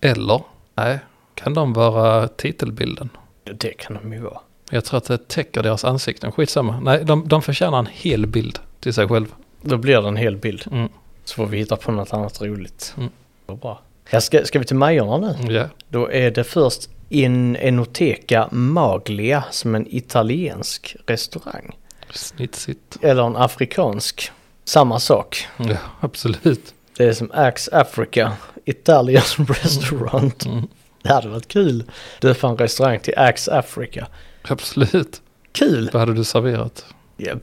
S2: Eller, nej, kan de vara titelbilden?
S1: Ja, Det kan de ju vara.
S2: Jag tror att det täcker deras ansikten. Skitsamma. Nej, de, de förtjänar en hel bild till sig själv.
S1: Då blir det en hel bild.
S2: Mm.
S1: Så får vi hitta på något annat roligt.
S2: Mm.
S1: Vad bra. Ja, ska, ska vi till Majorna nu?
S2: Ja.
S1: Då är det först In Enoteca Maglia som en italiensk restaurang.
S2: Snitsigt.
S1: Eller en afrikansk. Samma sak.
S2: Ja, absolut.
S1: Det är som Axe Africa, Italian [LAUGHS] Restaurant.
S2: Mm.
S1: Det hade varit kul. Du får en restaurang till Axe Africa.
S2: Absolut.
S1: Kul!
S2: Vad hade du serverat?
S1: Ja,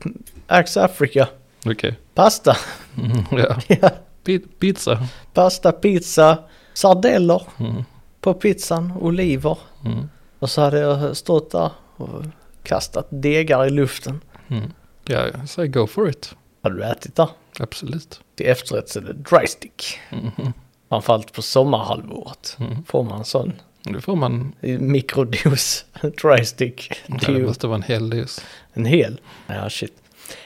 S1: Axe Africa.
S2: Okej.
S1: Pasta. [LAUGHS]
S2: Mm, ja.
S1: Ja,
S2: Pi- Pizza.
S1: Pasta, pizza, sardeller
S2: Mm.
S1: på pizzan, oliver.
S2: Mm.
S1: Och så hade jag stått där och kastat degar i luften.
S2: Mm. Ja, jag säger go for it.
S1: Hade du ätit där?
S2: Absolut.
S1: Till efterrätt så är det dry stick.
S2: Mhm.
S1: Framförallt på sommarhalvåret
S2: Mm.
S1: får man en sån
S2: Nu får man...
S1: mikrodos dry stick. Det
S2: Ja,
S1: är
S2: det
S1: ju
S2: måste vara en hel dos.
S1: en hel. Ja, shit.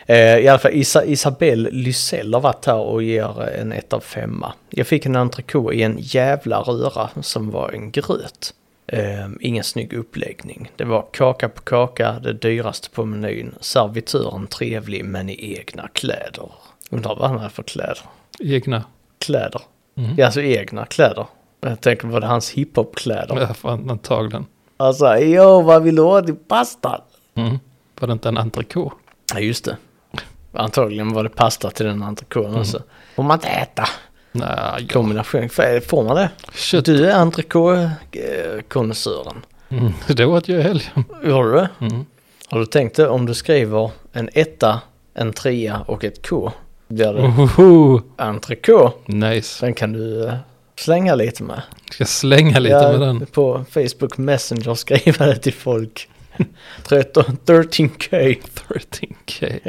S1: Eh, I alla fall Isa Isabelle Lysell har varit här och ger en ett av femma. Jag fick en entrecote i en jävla röra som var en gröt. Eh, ingen snygg uppläggning. Det var kaka på kaka, det dyraste på menyn. Servitören trevlig men i egna kläder. Undrar vad han hade för kläder.
S2: Egna.
S1: Kläder.
S2: Mm.
S1: Ja, alltså egna kläder. Jag tänker på det hans hiphopkläder.
S2: Ja, fan, antagligen.
S1: Alltså, jo, vad vill du ha till pastan?
S2: Mm. Var det inte en entrecote?
S1: Ja, just det. Mm. Antagligen var det pasta till den entrecoten också. Får man inte äta?
S2: Nej, ja.
S1: Kombination. F- Får man det?
S2: kött.
S1: Du är entrecote-konnässören.
S2: Mm. Det åt jag i helgen.
S1: Gör du det?
S2: Mm.
S1: Har du tänkt det? Om du skriver en etta, en trea och ett K. Blir det
S2: Oho.
S1: entrecote.
S2: Nice.
S1: Den kan du eh, slänga lite med.
S2: Ska slänga lite
S1: Ja,
S2: med den.
S1: På Facebook Messenger skriva det till folk. [LAUGHS] 13, 13K.
S2: 13k.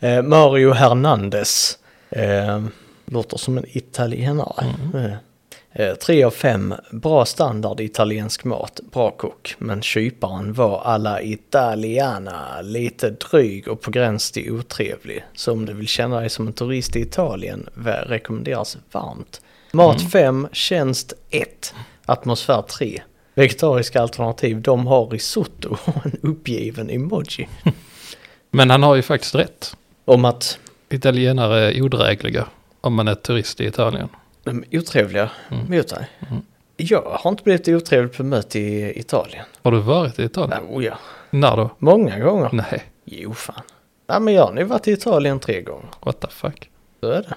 S1: Eh, Mario Hernandez. Eh, låter som en italienare. Eh, Eh, tre av fem. Bra standard italiensk mat. Bra kock. Men kyparen var alla italiana. Lite dryg och på gräns till otrevlig. Så om du vill känna dig som en turist i Italien vä- rekommenderas varmt. Mat 5, tjänst 1, atmosfär 3. Vegetariska alternativ, de har risotto och en uppgiven emoji.
S2: Men han har ju faktiskt rätt.
S1: Om att
S2: Italienare är odrägliga om man är turist i Italien.
S1: De är otrevliga mot dig. Jag har inte blivit otrevlig på möte i Italien.
S2: Har du varit i Italien?
S1: Oh, ja.
S2: När då?
S1: Många gånger.
S2: Nej,
S1: Jo fan. Nej men jag har nu varit i Italien tre gånger.
S2: what the fuck.
S1: Så är det.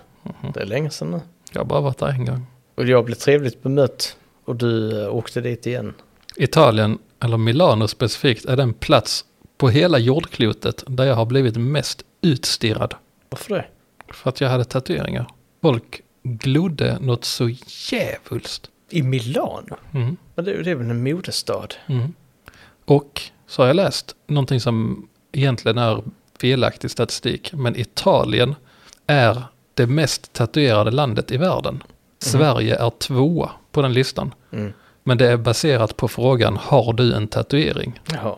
S1: Det är länge sedan nu.
S2: Jag har bara varit där en gång.
S1: Och jag blev trevligt bemött. Och du eh, åkte dit igen.
S2: Italien, eller Milano specifikt, är den plats på hela jordklotet där jag har blivit mest utstirrad.
S1: Varför det?
S2: För att jag hade tatueringar. Folk glodde något så djävulskt.
S1: I Milano?
S2: Mm,
S1: Men det, det är väl en modestad?
S2: mm. Och så har jag läst någonting som egentligen är felaktig statistik. Men Italien är det mest tatuerade landet i världen. Sverige är tvåa på den listan.
S1: Mm.
S2: Men det är baserat på frågan har du en tatuering?
S1: Jaha.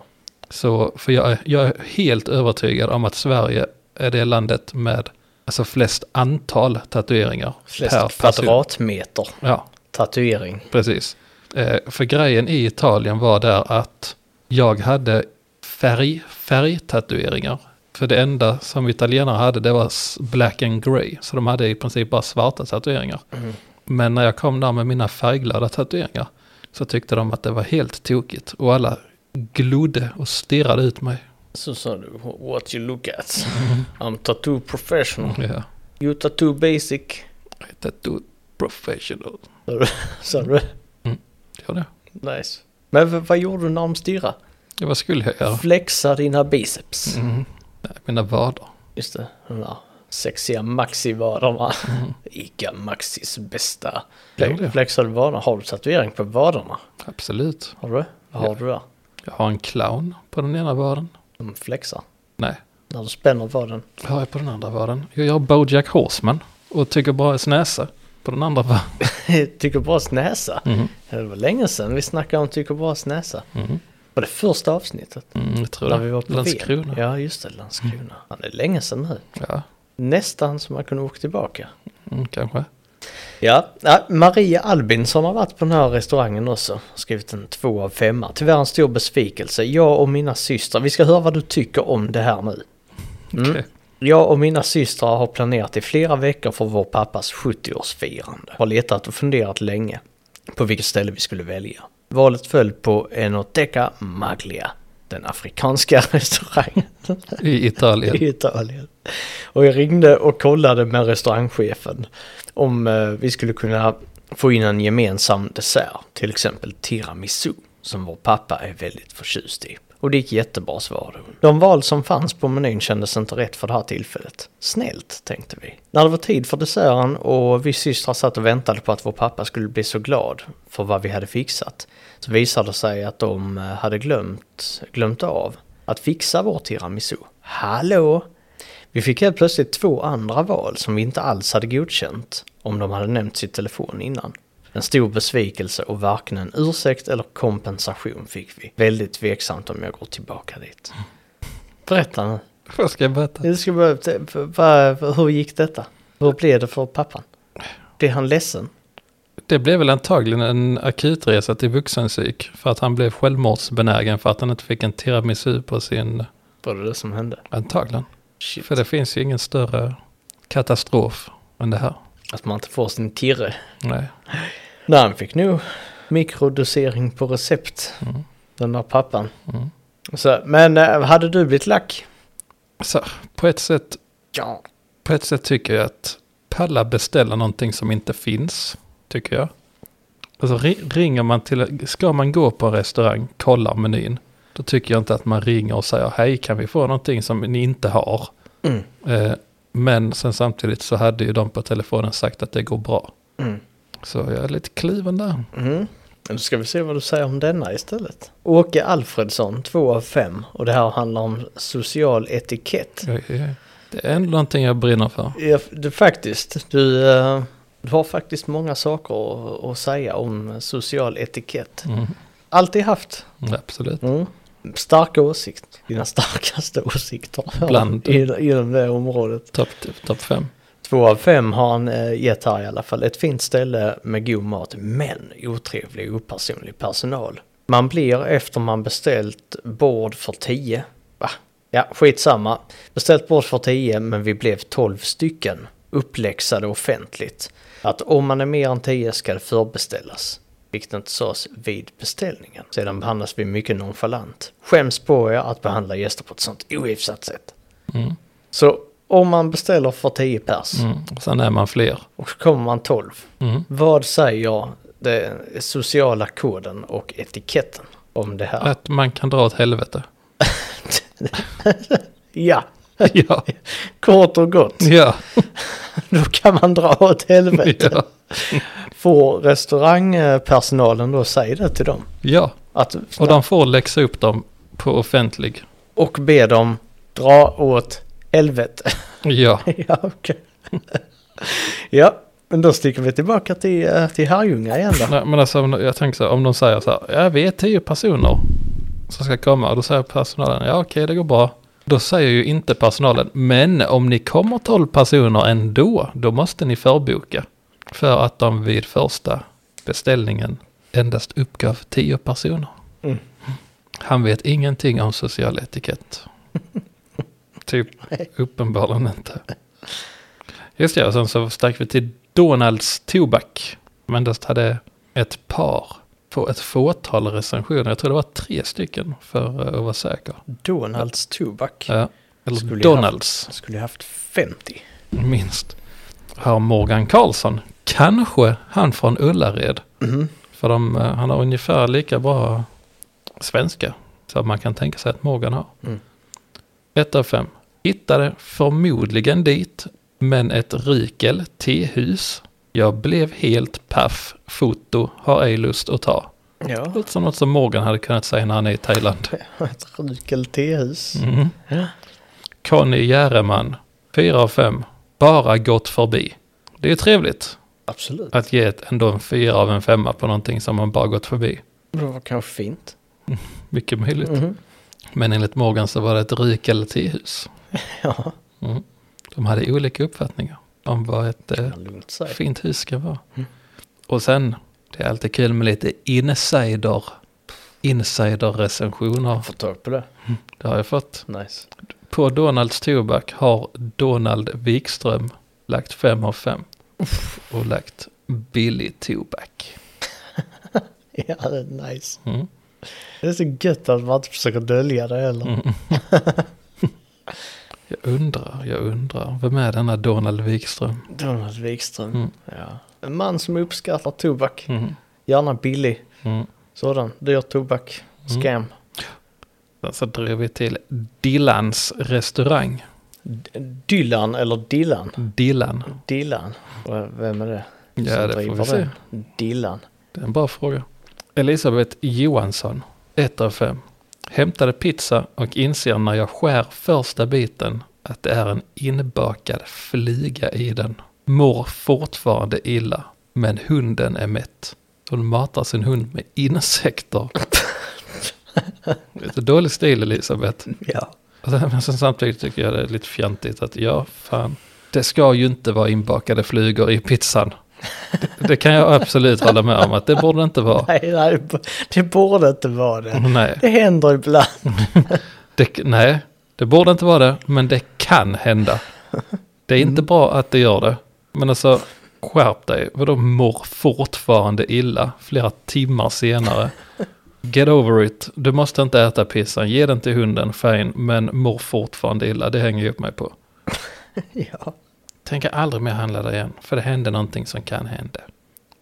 S2: Så, för jag, är- jag är helt övertygad om att Sverige är det landet med alltså flest antal tatueringar.
S1: Flest
S2: person.
S1: kvadratmeter
S2: Ja,
S1: tatuering.
S2: precis. Eh, för grejen i Italien var där att jag hade färg, färgtatueringar. För det enda som italienare hade det var s- black and grey. Så de hade i princip bara svarta tatueringar. Men när jag kom där med mina färgglada tatueringar så tyckte de att det var helt tokigt. Och alla glodde och stirrade ut mig.
S1: Så sa du, what you look at. I'm tattoo professional.
S2: Ja.
S1: You tattoo basic.
S2: Tattoo professional.
S1: Sa du.
S2: Ja, det.
S1: Nice. Men v- vad gjorde du när de stirrade?
S2: Ja, vad skulle jag göra?
S1: Flexa dina biceps.
S2: Mm. Nej, mina vader.
S1: Just det, de där sexiga maxivaderna. Ica Maxis bästa.
S2: Jo, Mm. det.
S1: Fle- Flexade vaderna. Har du tatuering på vaderna?
S2: Absolut.
S1: Har du? Vad har du där?
S2: Jag har en clown på den ena vaden.
S1: De flexar.
S2: Nej,
S1: När du spänner vaden. [LAUGHS]
S2: vad har jag på den andra vaden? Jag gör Bojack Horseman och tycker bara är näsa på den andra vaden.
S1: Tycker Bras näsa.
S2: Mm.
S1: Det var länge sedan vi snackade om Tycker Bras näsa.
S2: Mm.
S1: Var det första avsnittet?
S2: Mm, jag tror
S1: När
S2: det.
S1: vi var på
S2: Landskrona. Mm.
S1: Ven. Ja, just det. Landskrona. Fan, Det är länge sedan nu.
S2: Ja,
S1: Nästan som man kunde åka tillbaka.
S2: mm, kanske.
S1: Ja, ja, Maria Albinsson har varit på den här restaurangen också. Skrivit en två av femma. Tyvärr en stor besvikelse. Jag och mina systrar, vi ska höra vad du tycker om det här nu. Mm.
S2: Okej.
S1: Jag och mina systrar har planerat i flera veckor för vår pappas 70-årsfirande. Har letat och funderat länge på vilket ställe vi skulle välja. Valet föll på Enoteca Maglia, den afrikanska [LAUGHS] restaurangen
S2: I Italien.
S1: [LAUGHS] i Italien. Och jag ringde och kollade med restaurangchefen om eh, vi skulle kunna få in en gemensam dessert, till exempel tiramisu, som vår pappa är väldigt förtjust i. Och det gick jättebra svarade hon. De val som fanns på menyn kändes inte rätt för det här tillfället. Snällt, tänkte vi. När det var tid för desserten och vi systrar satt och väntade på att vår pappa skulle bli så glad för vad vi hade fixat, så visade det sig att de eh, hade glömt, glömt av att fixa vår tiramisu. Hallå! Vi fick helt plötsligt två andra val som vi inte alls hade godkänt om de hade nämnt sitt telefon innan. En stor besvikelse och varken en ursäkt eller kompensation fick vi. Väldigt tveksamt om jag går tillbaka dit. Berätta nu.
S2: Vad ska jag berätta?
S1: Jag ska bara, vad- hur gick detta? Hur blev det för pappan? Blev han ledsen?
S2: Det blev väl antagligen en akutresa till vuxenpsyk för att han blev självmordsbenägen för att han inte fick en tiramisu på sin,
S1: Var det det som hände?
S2: antagligen.
S1: Shit.
S2: För det finns ju ingen större katastrof än det här.
S1: Att man inte får sin tirre.
S2: Nej.
S1: Nej, han fick nog mikrodosering på recept.
S2: Mm.
S1: Den där pappan.
S2: Mm.
S1: Så, men eh, hade du blivit lack?
S2: Så på ett sätt,
S1: Ja.
S2: på ett sätt tycker jag att palla beställa någonting som inte finns, tycker jag. Alltså ri- ringer man till, ska man gå på en restaurang, kollar menyn, då tycker jag inte att man ringer och säger hej, kan vi få någonting som ni inte har?
S1: Mm.
S2: Eh, men sen samtidigt så hade ju de på telefonen sagt att det går bra.
S1: Mm.
S2: Så jag är lite kluven där.
S1: Mm. Då ska vi se vad du säger om denna istället. Åke Alfredsson, 2 av 5. Och det här handlar om social etikett.
S2: Oj, oj, oj. Det är ändå någonting jag brinner för.
S1: Ja, det, faktiskt, du, eh, du har faktiskt många saker att, att säga om social etikett.
S2: Mm,
S1: Alltid haft.
S2: absolut.
S1: Mm. Starka åsikter. Dina starkaste [LAUGHS] åsikter.
S2: Bland-
S1: I, inom det området.
S2: Topp top fem.
S1: Två av fem har han eh, gett här i alla fall. Ett fint ställe med god mat men otrevlig och opersonlig personal. Man blir efter man beställt bord för 10. Va? Ja, skitsamma. Beställt bord för 10 men vi blev 12 stycken. Uppläxade offentligt. Att om man är mer än 10 ska det förbeställas. Vilket inte sades vid beställningen. Sedan behandlas vi mycket nonchalant. Skäms på er att behandla gäster på ett sånt ohyfsat sätt.
S2: Mm,
S1: Så om man beställer för 10 pers
S2: mm. Sen är man fler.
S1: och så kommer man 12.
S2: Mm.
S1: Vad säger jag, den sociala koden och etiketten om det här?
S2: Att man kan dra åt helvete.
S1: Ja,
S2: ja.
S1: kort och gott.
S2: Ja.
S1: Då kan man dra åt helvete.
S2: ja.
S1: Får restaurangpersonalen då säga det till dem?
S2: Ja.
S1: Att,
S2: Och de får läxa upp dem på offentlig.
S1: och be dem dra åt helvete. [LAUGHS]
S2: Ja.
S1: ja, okej. ja, men då sticker vi tillbaka till, eh, till Herrljunga igen då.
S2: Nej, men alltså om de- jag tänker så här, om de säger så här, ja vi är tio personer som ska komma och då säger personalen, ja okej det går bra. Då säger ju inte personalen, men om ni kommer tolv personer ändå, då måste ni förboka. För att de vid första beställningen endast uppgav tio personer.
S1: Mm.
S2: Han vet ingenting om social etikett. typ, uppenbarligen inte. Just det, och sen så stack vi till Donalds Tobak. Men det hade ett par på ett fåtal recensioner. Jag tror det var tre stycken för eh, att vara säker.
S1: Donalds Tobak.
S2: Ja, eller
S1: Skulle jag
S2: Donalds,
S1: Skulle jag haft 50.
S2: minst. Har Morgan Karlsson. Kanske han från Ullared.
S1: Mhm.
S2: För de, eh, han har ungefär lika bra svenska som man kan tänka sig att Morgan har.
S1: Mm.
S2: Ett av fem. Hittade förmodligen dit, men ett rykel, tehus. Jag blev helt paff. Foto har ej lust att ta.
S1: Ja.
S2: Låter som något som Morgan hade kunnat säga när han är i Thailand.
S1: Ett rykel tehus.
S2: Mm.
S1: Ja.
S2: Conny Järeman, 4 av 5. Bara gått förbi. Det är trevligt
S1: Absolut.
S2: att ge ett, ändå en 4 av en femma på någonting som man bara gått förbi.
S1: Det var kanske fint.
S2: Mycket möjligt.
S1: Mhm.
S2: Men enligt Morgan så var det ett ryk eller tehus.
S1: Ja.
S2: Mm. De hade olika uppfattningar. om vad ett eh,
S1: Kan lugnt säga.
S2: fint hus ska vara.
S1: Mm.
S2: Och sen, det är alltid kul med lite insider, insiderrecensioner.
S1: Får tag på det.
S2: Det har jag fått.
S1: Nice.
S2: På Donalds tobak har Donald Wikström lagt 5 av 5. Och lagt billig tobak.
S1: Ja, det är nice.
S2: Mm.
S1: Det är så gött att man inte försöker dölja det heller.
S2: Mm. [LAUGHS] jag undrar, jag undrar. Vem är denna Donald Wikström?
S1: Donald Wikström.
S2: Mm.
S1: Ja. En man som uppskattar tobak.
S2: Mm.
S1: Gärna billig.
S2: Mm.
S1: Sådan. Dyr tobak.
S2: Mm.
S1: Scam.
S2: Sen så drar vi till Dillans restaurang.
S1: D- Dylan eller Dillan?
S2: Dillan.
S1: Dillan. V- Vem är det? Mm.
S2: Ja,
S1: som
S2: det får
S1: driver
S2: vi se.
S1: den? Dillan.
S2: Det är en bra fråga. Elisabeth Johansson, 1 av 5. Hämtade pizza och inser när jag skär första biten att det är en inbakad flyga i den. Mår fortfarande illa, men hunden är mätt. Hon matar sin hund med insekter. Lite dålig stil Elisabeth.
S1: Ja.
S2: Och sen- Alltså, [LAUGHS] Men sen samtidigt tycker jag det är lite fjantigt att ja, fan. Det ska ju inte vara inbakade flugor i pizzan. Det, det kan jag absolut hålla med om att det borde det inte vara.
S1: [LAUGHS] Nej, nej, det b- det borde inte vara det.
S2: Nej,
S1: Det händer ibland. [LAUGHS]
S2: det, nej, det borde inte vara det, men det kan hända. Det är inte bra att det gör det. Men alltså, skärp dig. Vadå mår fortfarande illa flera timmar senare? Get over it. Du måste inte äta pizzan. Ge den till hunden, fine. Men mår fortfarande illa. Det hänger jag upp mig på.
S1: Ja.
S2: Tänker aldrig mer handla där igen. För det hände någonting som kan hända.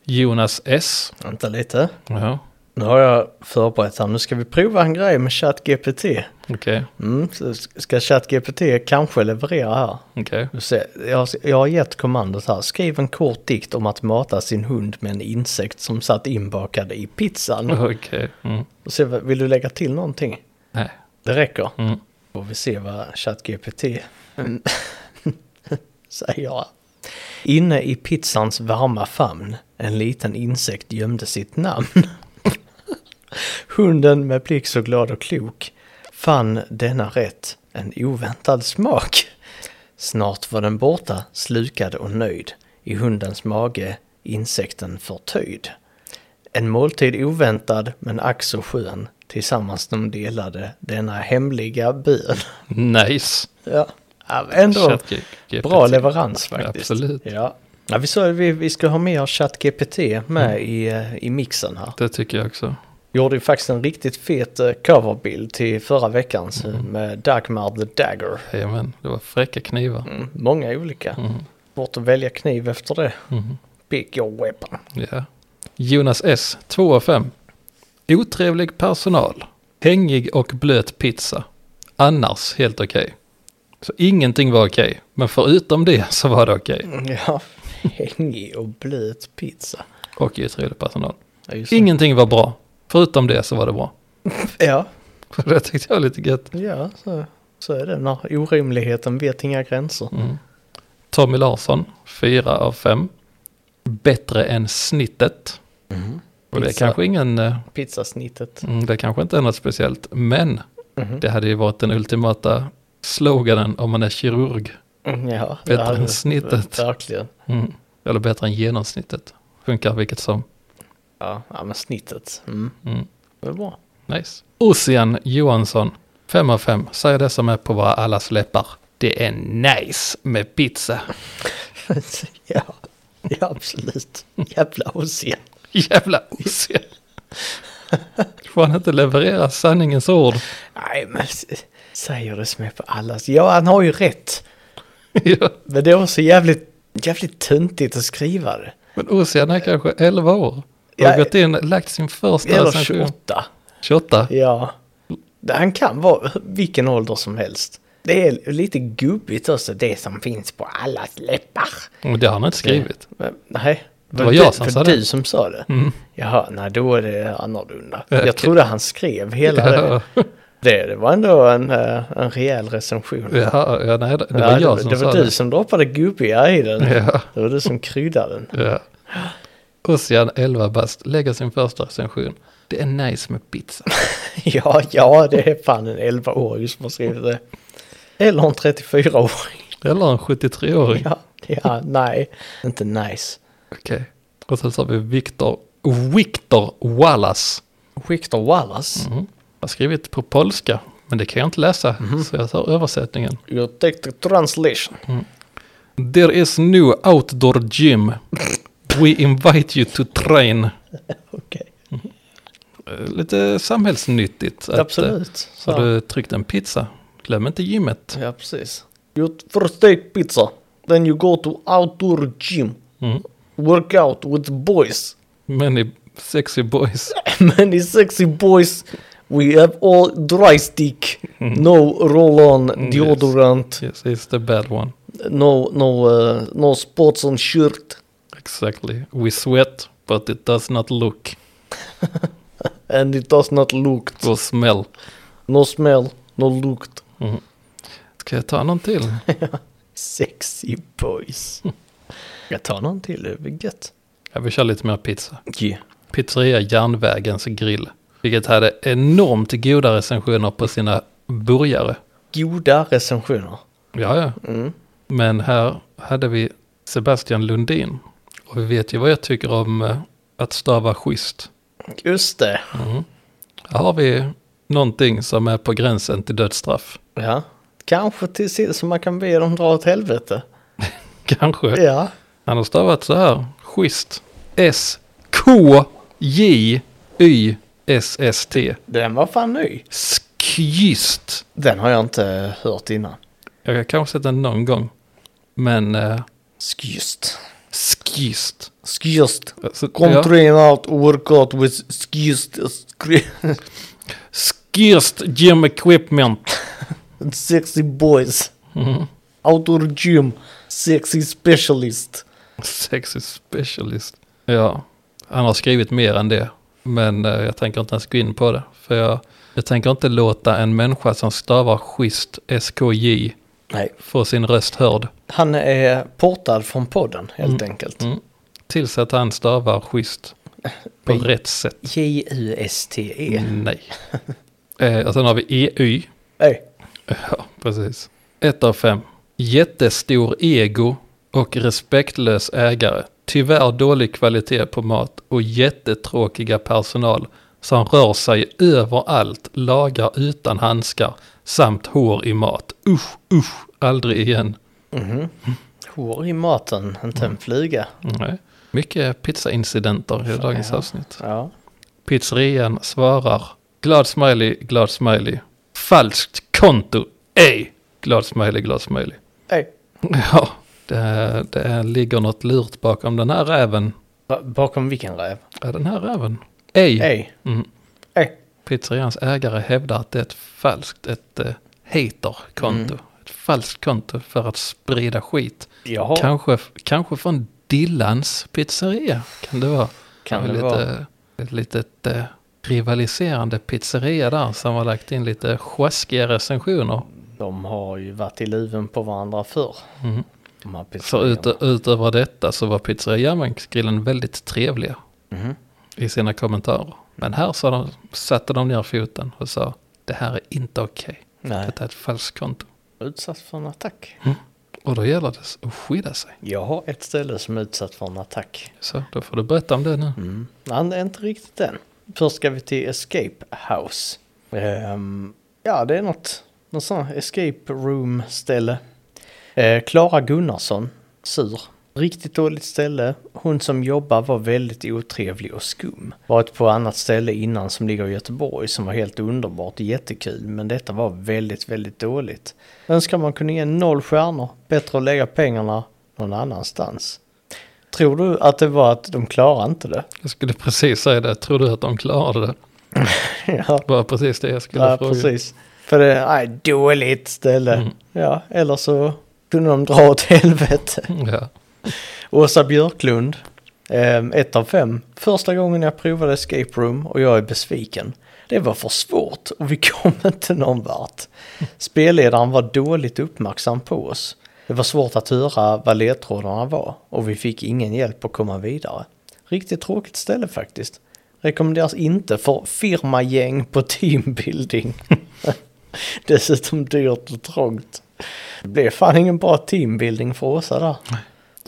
S2: Jonas S.
S1: Vänta lite.
S2: Ja,
S1: Nu har jag förberett här. Nu ska vi prova en grej med ChatGPT.
S2: okej.
S1: Mm, så s- ska ChatGPT kanske leverera här.
S2: Okej.
S1: Du ser, Jag, har- jag har gett kommandot här. Skriv en kort dikt om att mata sin hund med en insekt som satt inbakad i pizzan.
S2: Okej. Mm.
S1: Och se, vad- vill du lägga till någonting?
S2: Nej.
S1: Det räcker.
S2: Mm.
S1: Får vi se vad ChatGPT [LAUGHS] mm, säger. Inne i pizzans varma famn, en liten insekt gömde sitt namn. Hunden med blick så glad och klok fann denna rätt en oväntad smak. Snart var den borta, slukad och nöjd. I hundens mage insekten förtöjd. En måltid oväntad men ack så skön. Tillsammans de delade denna hemliga bön. [LAUGHS]
S2: Nice.
S1: Ja, ja, ändå
S2: ChatGPT.
S1: bra leverans faktiskt.
S2: Absolut.
S1: Ja. Ja, vi sa ju vi, vi ska ha med ChatGPT med
S2: Mm.
S1: i, eh, i mixen här.
S2: Det tycker jag också.
S1: Gjorde ju faktiskt en riktigt fet eh, coverbild till förra veckans eh,
S2: Mm.
S1: med Dagmar the Dagger.
S2: Jajamän, det var fräcka knivar.
S1: Mm, många olika.
S2: Mm.
S1: Bort att välja kniv efter det.
S2: Mm.
S1: Pick your weapon. [LAUGHS]
S2: Ja. Jonas S, 2 av 5. Otrevlig personal. Hängig och blöt pizza. Annars helt okej. Så ingenting var okej, men förutom det så var det okej.
S1: Ja, hängig och blöt pizza.
S2: Och otrevlig personal.
S1: Ja, just det.
S2: Ingenting var bra, förutom det så var det bra.
S1: Ja,
S2: [LAUGHS] Det tyckte jag var lite gött.
S1: ja så, så är det när orimligheten vet inga gränser.
S2: Mm. Tommy Larsson, 4 av 5. Bättre än snittet. Mm-hmm. Och det är
S1: Pizza.
S2: kanske ingen... eh,
S1: Pizzasnittet.
S2: Mm, det kanske inte är något speciellt, men det hade ju varit den ultimata sloganen om man är kirurg.
S1: Mm, Ja,
S2: Bättre
S1: det hade-
S2: än snittet.
S1: Verkligen.
S2: Mm. Eller bättre än genomsnittet. Funkar vilket som.
S1: Ja, ja men snittet. Mm.
S2: Mm.
S1: Det är bra. [LAUGHS]
S2: Nice. Ossian Johansson, 5 av 5, säger det som är på våra allas läppar. Det är nice med pizza.
S1: ja. ja, absolut. Jävla Ossian.
S2: [LAUGHS] Jävla Ossian. Får han inte leverera sanningens ord? [LAUGHS]
S1: Nej, men s- säger det som är på allas. Ja, han har ju rätt.
S2: ja.
S1: Men det är också jävligt, jävligt töntigt att skriva det.
S2: Men Ossian är kanske 11 år. Och
S1: Ja.
S2: gått in, lagt sin första
S1: Eller
S2: recension.
S1: 28.
S2: 28.
S1: Ja. Han kan vara vilken ålder som helst. Det är lite gubbigt också, det som finns på allas läppar.
S2: Och Det har han inte skrivit.
S1: Men, nej.
S2: Det var jag
S1: du-
S2: som
S1: för
S2: sa det. Mm.
S1: du som sa det. Jaha, nej då är det annorlunda.
S2: Okej.
S1: Jag trodde han skrev hela det.
S2: Ja,
S1: det. Det var ändå en, eh, en rejäl recension.
S2: ja, ja, nej, det, det
S1: Ja,
S2: var jag som
S1: det
S2: sa
S1: var du som droppade gubbiga i den.
S2: Ja.
S1: Det var du som kryddade den. [LAUGHS]
S2: Ja. Ossian 11 bast lägger sin första recension. Det är nice med pizza.
S1: Ja, ja, det är fan en 11-åring som har skrivit det. Eller en 34-åring.
S2: Eller en 73-åring.
S1: [LAUGHS] Ja, ja, nej. Inte nice.
S2: Okej. Och sen så har vi Victor, Victor Wallace.
S1: Victor Wallace.
S2: Mm. Har skrivit på polska, men det kan jag inte läsa, så jag tar översättningen.
S1: You take the translation.
S2: There is no outdoor gym. We invite you to train.
S1: Okej.
S2: Eh, Lite samhällsnyttigt. att, eh,
S1: Absolut. Så.
S2: Har du tryckt en pizza? Glöm inte gymmet.
S1: Ja, precis. You first take pizza. Then you go to outdoor gym.
S2: Mm.
S1: Work out with boys. [LAUGHS]
S2: Many sexy boys.
S1: Many sexy boys. We have all dry stick. No roll-on
S2: Mm-hmm. Mm, yes.
S1: deodorant.
S2: Yes, it's the bad one.
S1: No, no, uh, no spots on shirt.
S2: Exactly. We sweat, but it does not look
S1: And it does not look.
S2: or smell.
S1: No smell. No looked.
S2: Mm. Ska jag ta någon till?
S1: Sexy boys. Jag tar någon till, det är gött.
S2: Jag vill köra lite mer pizza.
S1: Yeah.
S2: Pizzeria Järnvägens grill. Vilket hade enormt goda recensioner på sina burgare.
S1: Goda recensioner.
S2: Ja, ja.
S1: Mm.
S2: Men här hade vi Sebastian Lundin. Och vi vet ju vad jag tycker om eh, att stava schysst.
S1: Just det.
S2: Mm. Här har vi någonting som är på gränsen till dödsstraff. [LAUGHS]
S1: Ja. Kanske till sist så man kan be dem dra åt helvete.
S2: Kanske.
S1: Ja.
S2: Han har stavat så här. Schysst. S-K-J-Y-S-S-T.
S1: Den var fan ny.
S2: Skjyst.
S1: Den har jag inte hört innan.
S2: Jag har kanske sett den någon gång. Men eh,
S1: Skjust.
S2: skist.
S1: Skjust.
S2: Alltså,
S1: Come
S2: ja,
S1: train out, work out with skjust. Skri- [LAUGHS]
S2: skist gym equipment.
S1: Sexy boys.
S2: Mhm.
S1: Outdoor gym. Sexy specialist.
S2: Sexy specialist. Ja, han har skrivit mer än det. Men eh, jag tänker inte ens gå in på det. För jag, jag tänker inte låta en människa som stavar schysst SKJ
S1: Nej.
S2: få sin röst hörd.
S1: Han är portad från podden helt enkelt.
S2: Mm. Tills att han stavar schysst på
S1: Nej.
S2: rätt sätt.
S1: J-U-S-T-E.
S2: Nej. Eh, och sen har vi EY.
S1: Nej.
S2: Ja, precis. Ett av fem. Jättestor ego och respektlös ägare. Tyvärr dålig kvalitet på mat och jättetråkiga personal som rör sig överallt, lagar utan handskar samt hår i mat. Usch, usch, aldrig igen.
S1: Mhm. Hår i maten, inte en flyga.
S2: Nej. Mycket pizzaincidenter i dagens
S1: Ja.
S2: avsnitt.
S1: Ja.
S2: Pizzerian svarar glad smiley, glad smiley. Falskt konto, ej! Glad smiley, glad smiley.
S1: Nej.
S2: Ja, det, det ligger något lurt bakom den här räven.
S1: Ba- Bakom vilken räv?
S2: Ja, den här räven. Ej.
S1: Ej.
S2: Mm.
S1: Ej.
S2: Pizzerians ägare hävdar att det är ett falskt, ett eh, haterkonto.
S1: Mm.
S2: Ett falskt konto för att sprida skit.
S1: Jaha. Kan,
S2: Kanske, kanske från Dillans pizzeria kan det vara.
S1: kan det
S2: lite,
S1: vara.
S2: Ett litet eh, rivaliserande pizzeria där som har lagt in lite sjaskiga recensioner.
S1: De har ju varit i luven på varandra förr.
S2: Mhm.
S1: De här
S2: Så
S1: pizzeriorna.
S2: ut, utöver detta så var pizzeria Järnvägsgrillen väldigt trevliga.
S1: Mhm.
S2: i sina kommentarer. Men här sa de, satte de ner foten och sa det här är inte okej.
S1: Nej,
S2: Detta är ett falskt konto.
S1: utsatt för en attack.
S2: Och då gäller det att skydda sig.
S1: Jag har ett ställe som är utsatt för en attack.
S2: Så då får du berätta om det nu.
S1: Mm. Nej, det är inte riktigt än. Först ska vi till Escape House. Ehm, ja, det är något. Något sånt Escape Room-ställe. Eh, Klara Gunnarsson, sur. Riktigt dåligt ställe. Hon som jobbar var väldigt otrevlig och skum. Varit på annat ställe innan som ligger i Göteborg som var helt underbart och jättekul. Men detta var väldigt, väldigt dåligt. Önskar man kunde ge noll stjärnor. Bättre att lägga pengarna någon annanstans. Tror du att det var att de klarar inte det?
S2: Jag skulle precis säga det. Tror du att de klarade det?
S1: [LAUGHS] ja,
S2: Det var precis det jag skulle
S1: ja
S2: fråga.
S1: precis. För det är dåligt ställe.
S2: Mm.
S1: Ja, eller så kunde de dra åt helvete.
S2: Ja.
S1: Åsa Björklund, ehm, ett av fem. Första gången jag provade escape room och jag är besviken. Det var för svårt och vi [LAUGHS] kom inte någon vart. Spelledaren var dåligt uppmärksam på oss. Det var svårt att höra vad ledtrådarna var och vi fick ingen hjälp att komma vidare. Riktigt tråkigt ställe faktiskt. Rekommenderas inte för [LAUGHS] firmagäng på teambuilding. Dessutom dyrt och trångt. Det blev fan ingen bra teambuilding för Åsa där.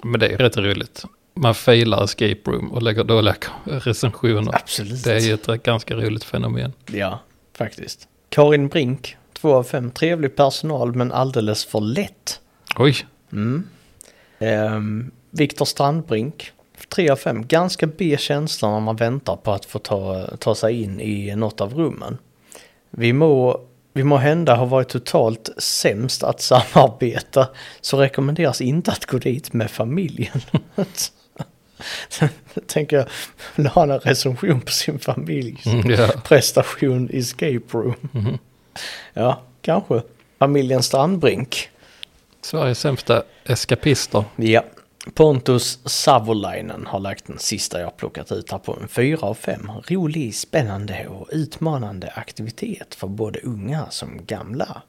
S2: Men det är rätt roligt. Man failar escape room och lägger dåliga recensioner.
S1: Absolut.
S2: Det är ju ett ganska roligt fenomen.
S1: Ja, faktiskt. Karin Brink, två av fem. Trevlig personal men alldeles för lätt.
S2: Oj,
S1: Mm. Ehm, Viktor Strandbrink, tre av fem. Ganska B känsla när man väntar på att få ta, ta sig in i något av rummen. Vi må, vi må hända har varit totalt sämst att [LAUGHS] samarbeta så rekommenderas inte att gå dit med familjen. [LAUGHS] Tänker jag, vill ha en recension på sin familjs
S2: mm, ja.
S1: prestation escape room.
S2: Mhm.
S1: Ja, kanske. Familjen Strandbrink.
S2: Sveriges sämsta eskapister.
S1: Ja. Pontus Savolainen har lagt den sista jag plockat ut här på en 4 av 5. Rolig, spännande och utmanande aktivitet för både unga som gamla.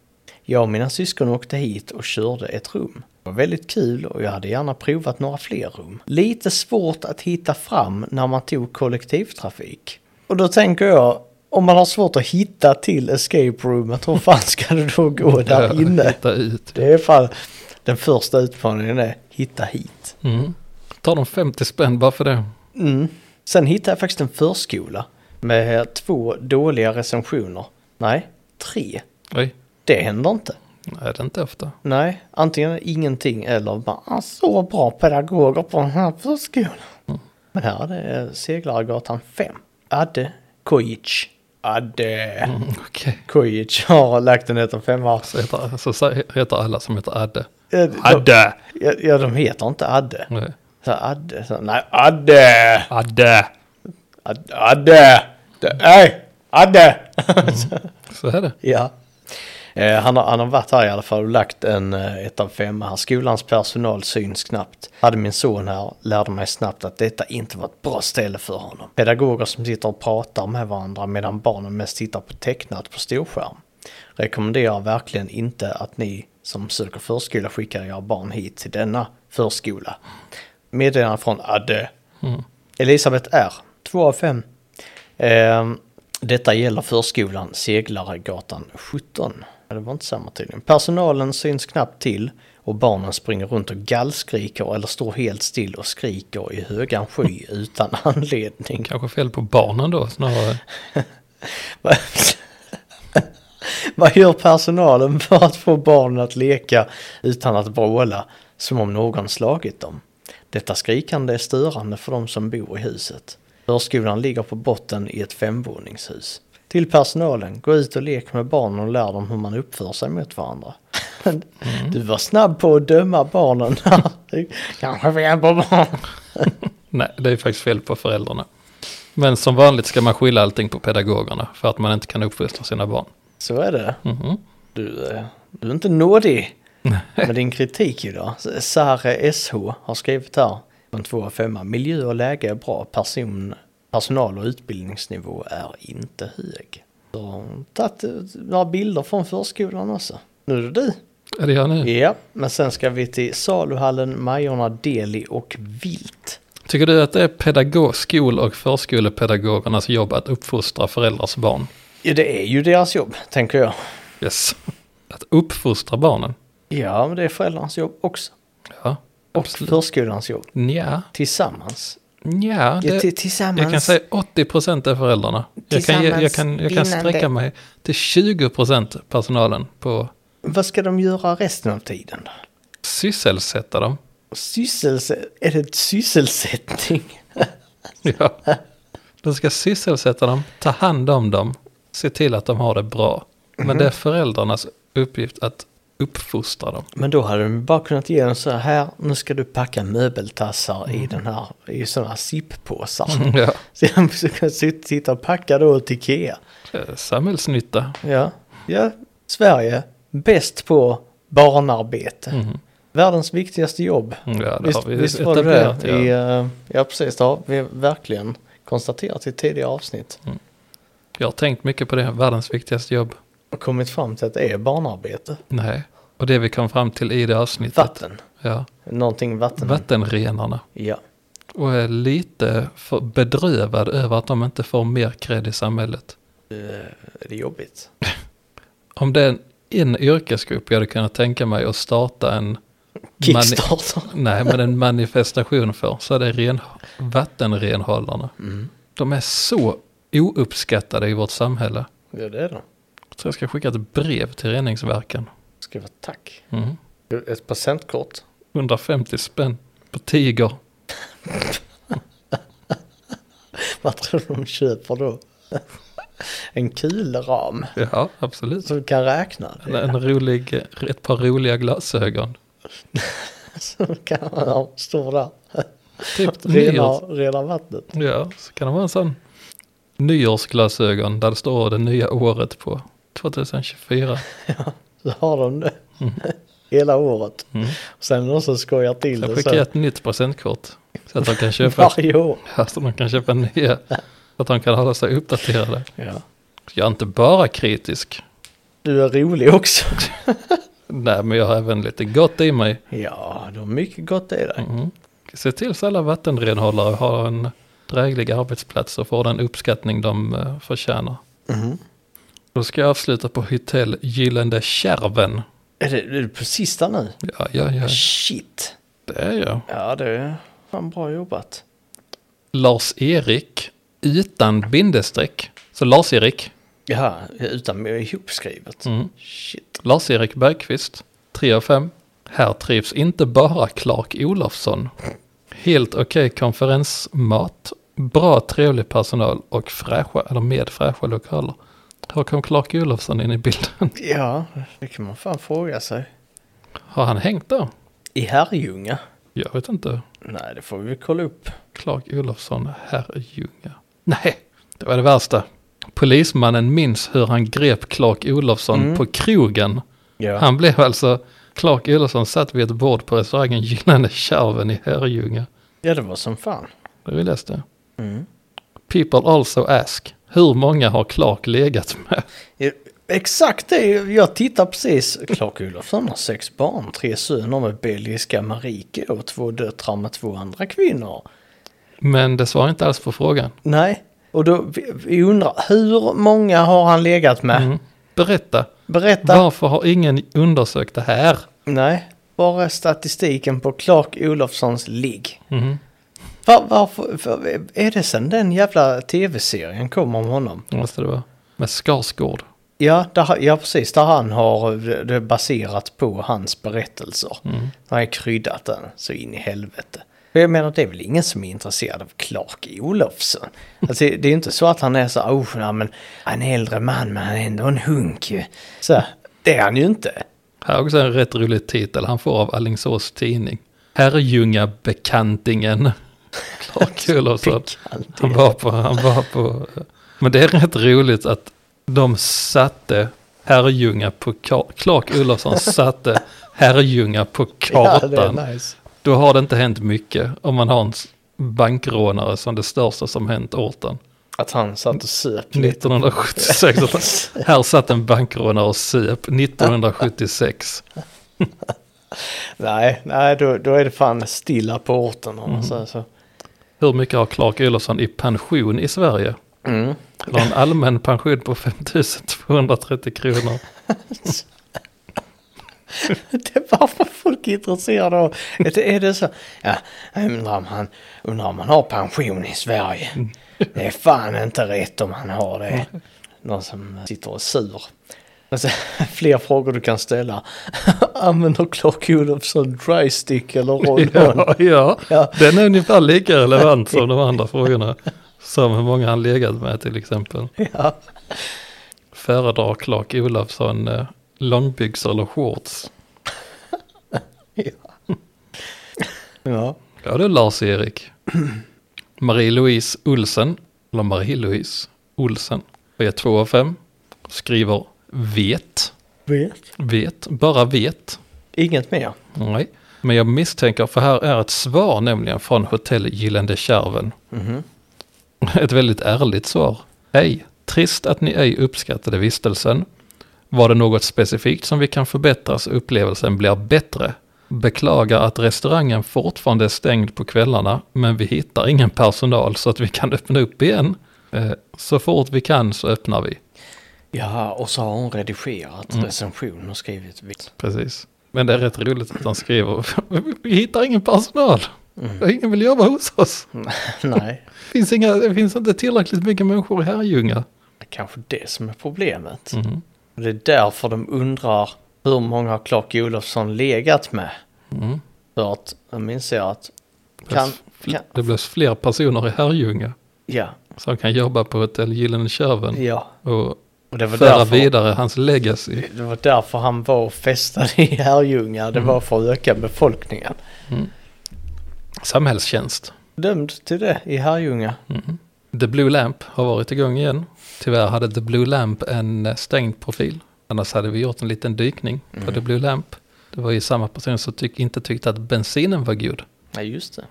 S1: Jag och mina syskon åkte hit och körde ett rum. Det var väldigt kul och jag hade gärna provat några fler rum. Lite svårt att hitta fram när man tog kollektivtrafik. Och då tänker jag, om man har svårt att hitta till escape roomet, hur fan ska det då gå
S2: [LAUGHS]
S1: där inne?
S2: Hitta ut.
S1: Det är fan den första utmaningen är hitta hit.
S2: Mm. Tar de 50 spänn bara för det?
S1: Mm. Sen hittade jag faktiskt en förskola med två dåliga recensioner. Nej, tre.
S2: Oj,
S1: Det händer inte.
S2: nej det är inte ofta.
S1: Nej, antingen ingenting eller bara ah, så bra pedagoger på den här förskolan.
S2: Mm.
S1: Men här är det Seglargatan 5. Adde Kojic. Adde
S2: Mm, Okej.
S1: Kojic har lagt en etta femma.
S2: Så heter- Så sä- heter alla som heter Adde.
S1: Eh, de-
S2: Adde! Mm.
S1: Ja, ja, de heter inte Adde.
S2: Nej.
S1: Så Adde, så, nej Adde!
S2: Adde!
S1: Ad- Adde! Det- Nej! Adde!
S2: Så är det.
S1: [LAUGHS] ja. Eh, han, har, han har varit här i alla fall och lagt en eh, ett av fem här. Skolans personal syns knappt. Hade min son här lärde mig snabbt att detta inte var ett bra ställe för honom. Pedagoger som sitter och pratar med varandra medan barnen mest tittar på tecknat på storskärm. Rekommenderar verkligen inte att ni som söker förskola skickar era barn hit till denna förskola. Meddelande från Adde. Elisabeth R. 2 Mm. av 5. Ehm, detta gäller förskolan Seglaregatan 17. Ja, Det var inte samma tydligen. Personalen syns knappt till och barnen springer runt och gallskriker eller står helt still och skriker i högan sky utan [LAUGHS] anledning.
S2: Kanske fel på barnen då snarare.
S1: Vad- [LAUGHS] Vad gör personalen för att få barnen att leka utan att bråla som om någon slagit dem? Detta skrikande är störande för de som bor i huset. Förskolan ligger på botten i ett femvåningshus. Till personalen, gå ut och lek med barnen och lär dem hur man uppför sig mot varandra. [LAUGHS] Du var snabb på att döma barnen. [LAUGHS] Kanske fel på barn.
S2: Nej, det är faktiskt fel på föräldrarna. Men som vanligt ska man skylla allting på pedagogerna för att man inte kan uppfostra sina barn.
S1: Så är det.
S2: Mhm.
S1: Du, eh, du är inte nådig med din kritik idag. Sare SH har skrivit här på en 2 av 5 Miljö och läge är bra, person, personal och utbildningsnivå är inte hög. Så har hon tagit eh, några bilder från förskolan också. Nu är det du.
S2: Är det jag nu?
S1: Ja, men sen ska vi till saluhallen, Majorna, Deli och Vilt.
S2: Tycker du att det är pedagog, skol och förskolepedagogernas jobb att uppfostra föräldrars barn?
S1: Ja, det är ju deras jobb, tänker jag.
S2: Yes. Att uppfostra barnen?
S1: Ja, men det är föräldrarnas jobb också.
S2: Ja,
S1: Och
S2: absolut.
S1: förskolans jobb.
S2: Nja,
S1: Tillsammans.
S2: nja.
S1: Ja,
S2: Det,
S1: till- tillsammans.
S2: jag kan säga 80 procent är föräldrarna. Jag kan, ge- jag kan, jag kan
S1: Tillsammans
S2: sträcka
S1: vinnande.
S2: mig till 20 procent personalen på
S1: Vad ska de göra resten av tiden då?
S2: sysselsätta dem. [LAUGHS]
S1: Sysselse... Är det ett sysselsättning?
S2: Ja. De ska sysselsätta dem, ta hand om dem, se till att de har det bra.
S1: Mhm.
S2: Men det är föräldrarnas uppgift att uppfostra dem.
S1: Men då hade de ju bara kunnat ge dem så här, här, nu ska du packa möbeltassar i
S2: Mm.
S1: den här, i sådana här zippåsar.
S2: [LAUGHS] Ja.
S1: [LAUGHS] Så jag kan sitta och packa då åt Ikea.
S2: Eh, Samhällsnytta.
S1: Ja, ja. Sverige, bäst på barnarbete. Världens viktigaste jobb.
S2: Mm. Ja, det
S1: visst,
S2: har vi
S1: visst var det
S2: etablerat.
S1: det? I,
S2: Ja.
S1: eh, ja, precis. Det har vi verkligen konstaterat i tidigare avsnitt.
S2: Jag har tänkt mycket på det, världens viktigaste jobb.
S1: Och kommit fram till att det är barnarbete.
S2: Nej, och det vi kom fram till i det avsnittet.
S1: Vatten.
S2: Ja.
S1: Någonting vatten.
S2: Vattenrenarna.
S1: Ja.
S2: Och är lite för bedrövad över att de inte får mer cred i samhället.
S1: Eh, Är det jobbigt?
S2: Om det är en en yrkesgrupp jag hade kunnat tänka mig att starta en,
S1: Kickstarter.
S2: nej, men en manifestation för så är det ren, vattenrenhållarna.
S1: Mm.
S2: De är så ouppskattade i vårt samhälle.
S1: Ja, det är det.
S2: Jag tror jag ska skicka ett brev till reningsverken.
S1: Skriva tack.
S2: Mm.
S1: Ett presentkort.
S2: 150 spänn på Tiger.
S1: Vad tror du de köper då? En kulram
S2: Ja, absolut.
S1: som du kan räkna.
S2: En, en rolig, ett par roliga glasögon.
S1: Som kan ja, stå där.
S2: Typ
S1: Rena,
S2: nyårs.
S1: rena vattnet.
S2: Ja, så kan det vara en sån nyårsglasögon där det står det nya året på. 2024.
S1: Så har de det.
S2: Mm.
S1: Hela året.
S2: Mm.
S1: Sen är det någon som skojar till
S2: Jag
S1: det
S2: skickar
S1: så.
S2: ett nytt presentkort. Så att
S1: [LAUGHS]
S2: de kan köpa,
S1: Varje år.
S2: ja, så de kan köpa nya. Så att de kan hålla sig uppdaterade.
S1: Ja.
S2: Jag är inte bara kritisk.
S1: Du är rolig också.
S2: Nej, men jag har även lite gott i mig.
S1: Ja, du har mycket gott i dig.
S2: Mm. Se till så alla vattenrenhållare har en dräglig arbetsplats och får den uppskattning de eh, förtjänar.
S1: Mhm.
S2: Då ska jag avsluta på hotell Gyllene Kärven.
S1: Är, det, är det på sista nu?
S2: Ja, ja, ja.
S1: Shit.
S2: Det är jag.
S1: Ja, det är fan bra jobbat.
S2: Lars-Erik utan bindestreck. Så Lars-Erik.
S1: Ja, utan ihopskrivet.
S2: Mm.
S1: Shit.
S2: Lars-Erik Bergqvist. 3 av 5. Här trivs inte bara Clark Olofsson. Helt okej konferensmat. Bra trevlig personal och fräscha, eller med fräscha lokaler. Hur kom Clark Olofsson in i bilden? [LAUGHS]
S1: Ja, det kan man fan fråga sig.
S2: Har han hängt där?
S1: I Herrljunga?
S2: Jag vet inte.
S1: Nej, det får vi kolla upp.
S2: Clark Olofsson, Herrljunga. Nej, det var det värsta. Polismannen minns hur han grep Clark Olofsson
S1: Mm.
S2: på krogen.
S1: Ja.
S2: Han blev alltså, Clark Olofsson satt vid ett bord på restaurangen Gyllene Tjärven i Herrljunga.
S1: ja, det var som fan.
S2: Det vi läste.
S1: Mm.
S2: People also ask, hur många har Clark legat med?
S1: Ja, Exakt det, jag tittar precis. Clark Olofsson har sex barn, tre söner med belgiska Marike och två döttrar med två andra kvinnor.
S2: Men det svarar inte alls på frågan.
S1: Nej, och då vi, vi undrar hur många har han legat med?
S2: Mm. Berätta,
S1: Berätta.
S2: varför har ingen undersökt det här?
S1: Nej, bara statistiken på Clark Olofssons ligg.
S2: Mm.
S1: Var, varför, för, är det sen den jävla tv-serien kom om honom?
S2: Det måste det vara. Med Skarsgård.
S1: Ja, där, ja precis, där han har eh, det är baserat på hans berättelser.
S2: Mm.
S1: Han har kryddat den så in i helvete. För Jag menar, det är väl ingen som är intresserad av Clark Olofsson. Alltså, det är ju inte så att han är så, oh, nej, men han är en äldre man, men han är ändå en hunk ju. Så, det är han ju inte.
S2: Här är också en rätt rolig titel han får av Alingsås tidning. Herrljunga bekantingen. [LAUGHS] Clark Olofsson. Han var på, han var på. Men det är rätt roligt att de satte Herrljunga på kar- Clark Olofsson satte Herrljunga på
S1: [LAUGHS] [LAUGHS] Ja, det
S2: kartan.
S1: är nice.
S2: Då har det inte hänt mycket om man har en s- bankrånare som det största som hänt orten.
S1: Att han satt och söp lite.
S2: 1976. Här satt en bankrånare och söp 1976.
S1: nej, nej då, då är det fan stilla på orten om man säger så.
S2: Hur mycket har Clark Olofsson i pension i Sverige?
S1: Mm.
S2: Han har en allmän pension på 5230 kronor.
S1: Det är varför folk är intresserade av... Är det, är det så? Ja, jag undrar om, han, undrar om han har pension i Sverige. Det är fan inte rätt om han har det. Någon som sitter och är sur. Alltså, fler frågor du kan ställa. Använder Clark Olofsson drystick eller roll-on?
S2: Ja, [LAUGHS] ja.
S1: Ja.
S2: den är ungefär lika relevant som de andra frågorna. Som hur många han legat med till exempel.
S1: Ja.
S2: Föredrar Clark Olofsson eh, långbyxor eller shorts?
S1: ja.
S2: Ja du Lars-Erik. [CLEARS THROAT] Marie-Louise Olsen, eller Marie-Louise Olsen, är 2 av 5. Skriver vet,
S1: Vet.
S2: vet, bara vet.
S1: Inget mer.
S2: Nej, men jag misstänker, för här är ett svar nämligen från Hotell Gyllene Kärven.
S1: Mhm.
S2: [LAUGHS] Ett väldigt ärligt svar. Hej, trist att ni ej uppskattade vistelsen. Var det något specifikt som vi kan förbättra så upplevelsen blir bättre? Beklagar att restaurangen fortfarande är stängd på kvällarna, men vi hittar ingen personal så att vi kan öppna upp igen. Eh, Så fort vi kan så öppnar vi.
S1: Ja, och så har hon redigerat
S2: Mm.
S1: recension och skrivit vitt.
S2: Precis. Men det är rätt roligt att han skriver. [LAUGHS] Vi hittar ingen personal.
S1: Mm.
S2: Ingen vill jobba hos oss.
S1: Nej,
S2: Finns inga, det finns inte tillräckligt mycket människor i Herrljunga.
S1: det är kanske det som är problemet.
S2: Mm.
S1: Och Det är därför de undrar hur många har Clark Olofsson legat med.
S2: Mm.
S1: För att, jag minns jag att, kan,
S2: Det behövs fl-
S1: kan,
S2: Det behövs fler personer i Herrljunga
S1: ja,
S2: som kan jobba på Hotell Gyllene Tjuven
S1: ja.
S2: och
S1: Och det var
S2: föra
S1: därför.
S2: vidare hans legacy.
S1: Det var därför han var och festade i Herrljunga.
S2: Mhm.
S1: Det var för att öka befolkningen.
S2: Samhällstjänst.
S1: Dömd till det i Herrljunga.
S2: Mm. The Blue Lamp har varit igång igen. Tyvärr hade The Blue Lamp en eh, stängd profil. Annars hade vi gjort en liten dykning på
S1: Mm.
S2: The Blue Lamp. Det var ju samma person som tyck- inte tyckte att bensinen var god.
S1: Nej, just det.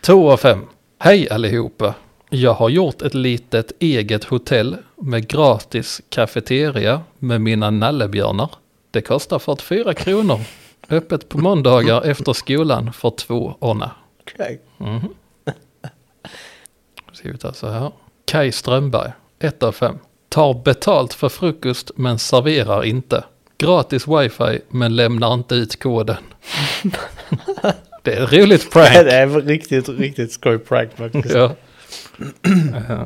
S2: 2 av 5. Hej allihopa! Jag har gjort ett litet eget hotell med gratis kafeteria med mina nallebjörnar. Det kostar 44 kronor. Öppet på måndagar efter skolan för två orna.
S1: Okej.
S2: Mhm. Då Ska vi ta så här. Kai Strömberg, 1 av 5. Tar betalt för frukost men serverar inte. Gratis wifi men lämnar inte
S1: [LAUGHS]
S2: ut koden. det är ett roligt prank.
S1: Det är väl riktigt, riktigt skoj prank faktiskt.
S2: Ja. Eh,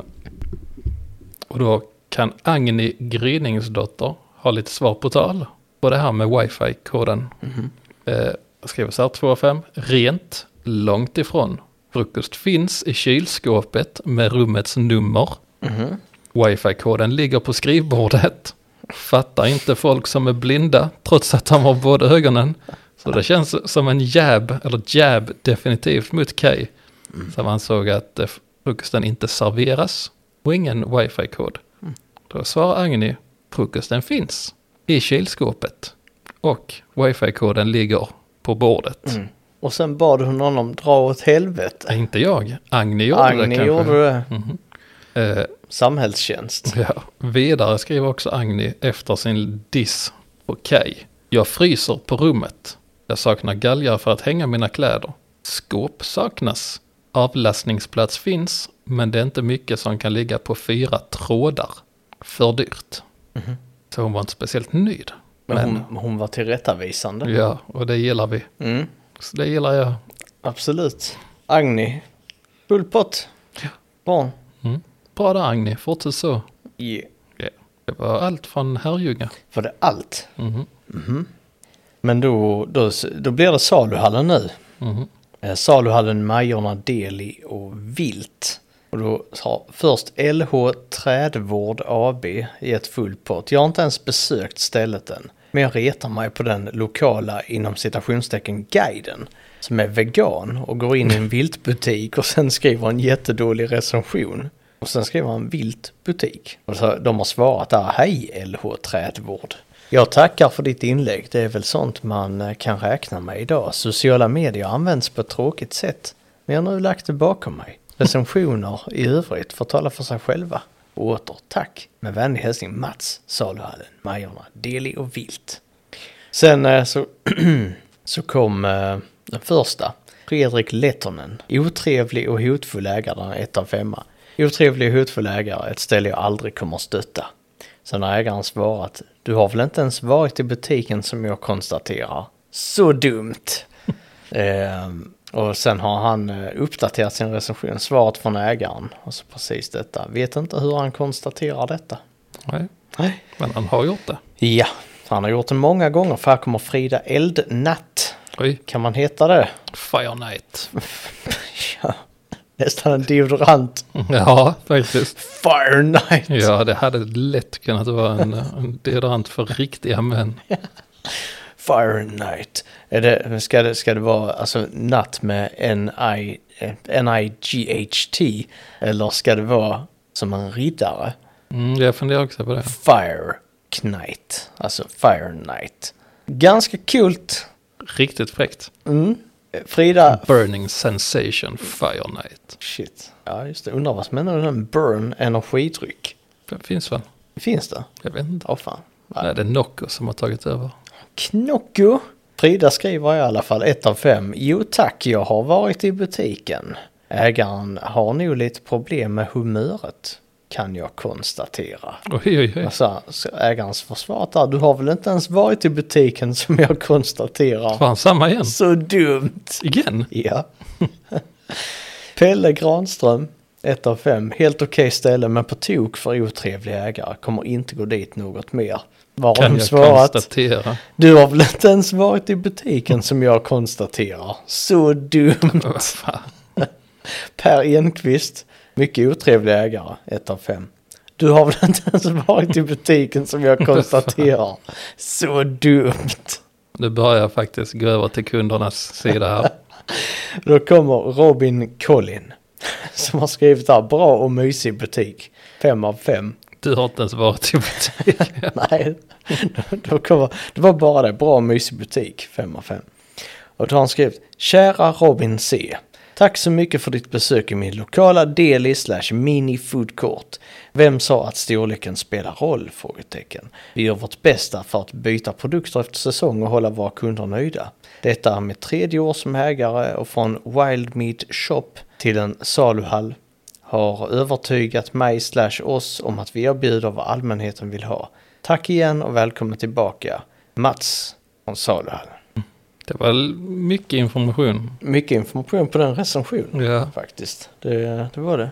S2: [CLEARS THROAT] Och då kan Agni Gryningsdotter ha lite svar på tal på det här med wifi-koden.
S1: Mhm.
S2: Eh, jag skriver så här 2 av 5. Rent, långt ifrån. Frukost finns i kylskåpet med rummets nummer.
S1: Mhm.
S2: Wifi-koden ligger på skrivbordet. Fattar inte folk som är blinda trots att de har båda ögonen. Så det känns som en jab, eller jab definitivt mot Kay.
S1: Mm.
S2: Som ansåg att eh, frukosten inte serveras och ingen wifi-kod. Då svarar Agni, frukosten finns i kylskåpet och wifi-koden ligger på bordet.
S1: Mm. Och sen bad hon honom dra åt helvete.
S2: Inte jag, Agni gjorde det
S1: Mm. Agni
S2: kanske.
S1: gjorde det.
S2: Eh,
S1: Samhällstjänst.
S2: [LAUGHS] Ja, vidare skriver också Agni efter sin diss på Kaj. Jag fryser på rummet. Jag saknar galgar för att hänga mina kläder. Skåp saknas. Avlastningsplats finns, men det är inte mycket som kan ligga på fyra trådar. För dyrt. Så hon var inte speciellt nöjd.
S1: Men hon, hon var tillrättavisande.
S2: Ja, och det gillar vi.
S1: Mm.
S2: Så det gillar jag.
S1: Absolut. Agni. Full pott. Barn.
S2: Mm. Bra där Agni, fortsätt så.
S1: Yeah.
S2: Det var allt från Herrljunga.
S1: Var det allt?
S2: Mhm,
S1: Men då, då, då blir det saluhallen nu.
S2: mhm.
S1: Eh, Saluhallen, Majorna, Deli och Vilt. Och då har först LH Trädvård AB gett full pott. Jag har inte ens besökt stället än. Men jag retar mig på den lokala inom citationstecken guiden som är vegan och går in i en viltbutik och sen skriver en jättedålig recension. Och sen skriver han viltbutik. Och så, de har svarat där, hej LH Trädvård. Jag tackar för ditt inlägg. Det är väl sånt man eh, kan räkna med idag. Sociala medier används på ett tråkigt sätt. Men jag har nu lagt det bakom mig. Recensioner i övrigt får tala för sig själva. Och åter tack. Med vänlig hälsning Mats, Saluhallen, Majorna, Deli och Vilt. Sen eh, så, så kom eh, den första. Fredrik Lettonen. Otrevlig och hotfull ägare, ettan femma. Otrevlig och hotfull ägare, ett ställe jag aldrig kommer att stötta. Sen har ägaren svarat, du har väl inte ens varit i butiken som jag konstaterar. Så dumt! Ehm, och sen har han eh, uppdaterat sin recension, svaret från ägaren. Och så precis detta. Vet inte hur han konstaterar detta.
S2: Nej,
S1: Nej.
S2: men han har gjort det.
S1: Ja, han har gjort det många gånger för här kommer Frida Eldnatt.
S2: Oj,
S1: Kan man heta det?
S2: Fire Night.
S1: ja, nästan en deodorant.
S2: Ja, faktiskt.
S1: Fire Night!
S2: Ja, det hade lätt kunnat vara en, en deodorant för riktiga män.
S1: Fire Night. Är det, ska, det, ska det vara alltså natt med N-I- eh, N-I-G-H-T? Eller ska det vara som en riddare?
S2: Mm, jag funderar också på det.
S1: Fire Knight. Alltså Fire Knight. Ganska coolt.
S2: Riktigt fräckt.
S1: Frida
S2: Burning Sensation Fire Night.
S1: Shit. Ja, just det. Undrar vad som händer med den burn energidryck.
S2: Det finns väl?
S1: Finns det?
S2: Jag vet inte.
S1: Ja, fan. Ja.
S2: Nej, det är Nocco som har tagit över.
S1: Knocko. Frida skriver i alla fall ett av fem. Jo tack, jag har varit i butiken. Ägaren har nog lite problem med humöret. kan jag konstatera.
S2: Oj, oj, oj.
S1: Alltså, så ägarens försvar där, du har väl inte ens varit i butiken som jag konstaterar.
S2: Fan, samma igen.
S1: Så dumt!
S2: Igen?
S1: Ja. [LAUGHS] Pelle Granström, 1 av 5. Helt okej ställe men på tok för otrevlig ägare. Kommer inte gå dit något mer. Var
S2: Kan
S1: de
S2: jag
S1: svarat?
S2: konstatera.
S1: Du har väl inte ens varit i butiken som jag konstaterar. Så dumt.
S2: Vad fan?
S1: Per Enqvist, mycket otrevlig ägare, 1 av 5. Du har väl inte ens varit i butiken som jag konstaterar. Så dumt.
S2: Nu börjar jag faktiskt gå över till kundernas sida här.
S1: Då kommer Robin Collin. Som har skrivit här, bra och mysig butik. Fem av fem.
S2: Du har inte ens varit i butiken.
S1: [LAUGHS] Nej, då kommer, det var bara det. Bra och mysig butik. Fem av fem. Och då har han skrivit, kära Robin C. Tack så mycket för ditt besök i min lokala deli slash mini food court. Vem sa att storleken spelar roll? Frågetecken. Vi gör vårt bästa för att byta produkter efter säsong och hålla våra kunder nöjda. Detta är mitt tredje år som ägare och från Wild Meat Shop till en saluhall har övertygat mig slash oss om att vi erbjuder vad allmänheten vill ha. Tack igen och välkommen tillbaka. Mats från saluhallen.
S2: Det var l- mycket information.
S1: Mycket information på den recensionen
S2: Ja.
S1: faktiskt. Det, det var det.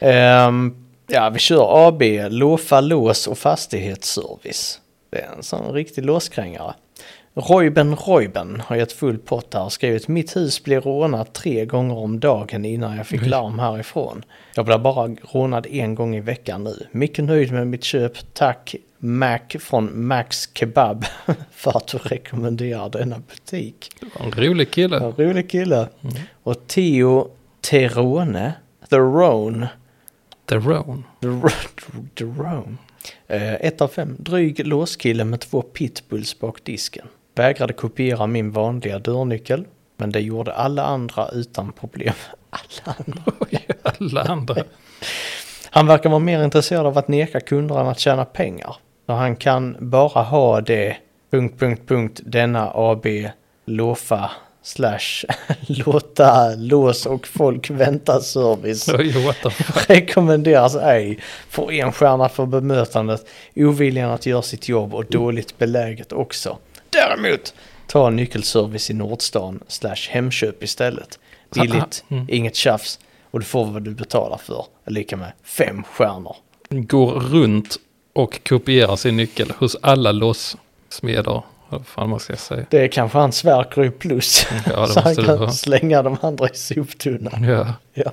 S1: Ehm, ja, vi kör AB, Låfa Lås och Fastighetsservice. Det är en sån riktig låskrängare. Royben Royben har gett full pott här och skrivit mitt hus blir rånat tre gånger om dagen innan jag fick larm härifrån. Jag blir bara rånad en gång i veckan nu. Mycket nöjd med mitt köp. Tack Mac från Max Kebab [LAUGHS] för att du rekommenderar denna butik.
S2: Det var en rolig kille. Mm.
S1: Ja, rolig kille. Och Theo Terone, The Rone,
S2: The Roan.
S1: The, Ro- [LAUGHS] the Rone. Eh, ett av fem, dryg låskille med två pitbulls bak disken. Vägrade kopiera min vanliga dörrnyckel, men det gjorde alla andra utan problem. [LAUGHS] Alla andra.
S2: Oj, alla andra.
S1: Han verkar vara mer intresserad av att neka kunder än att tjäna pengar. Så han kan bara ha det... Punkt, punkt, punkt, denna AB låfa slash [LAUGHS] låta lås och folk vänta service.
S2: Oj, what the
S1: [LAUGHS]
S2: fuck.
S1: Rekommenderas ej. Får en stjärna för bemötandet, oviljan att göra sitt jobb och dåligt beläget också. Däremot, ta nyckelservice i Nordstan slash Hemköp istället. Billigt,
S2: Mm.
S1: inget tjafs och du får vad du betalar för. Lika med fem stjärnor.
S2: Går runt och kopierar sin nyckel hos alla låssmeder. Vad fan man ska säga.
S1: Det är kanske han sverker i plus.
S2: Ja,
S1: så
S2: det
S1: han
S2: måste det
S1: kan
S2: vara.
S1: slänga de andra i soptunnan.
S2: Ja.
S1: Ja.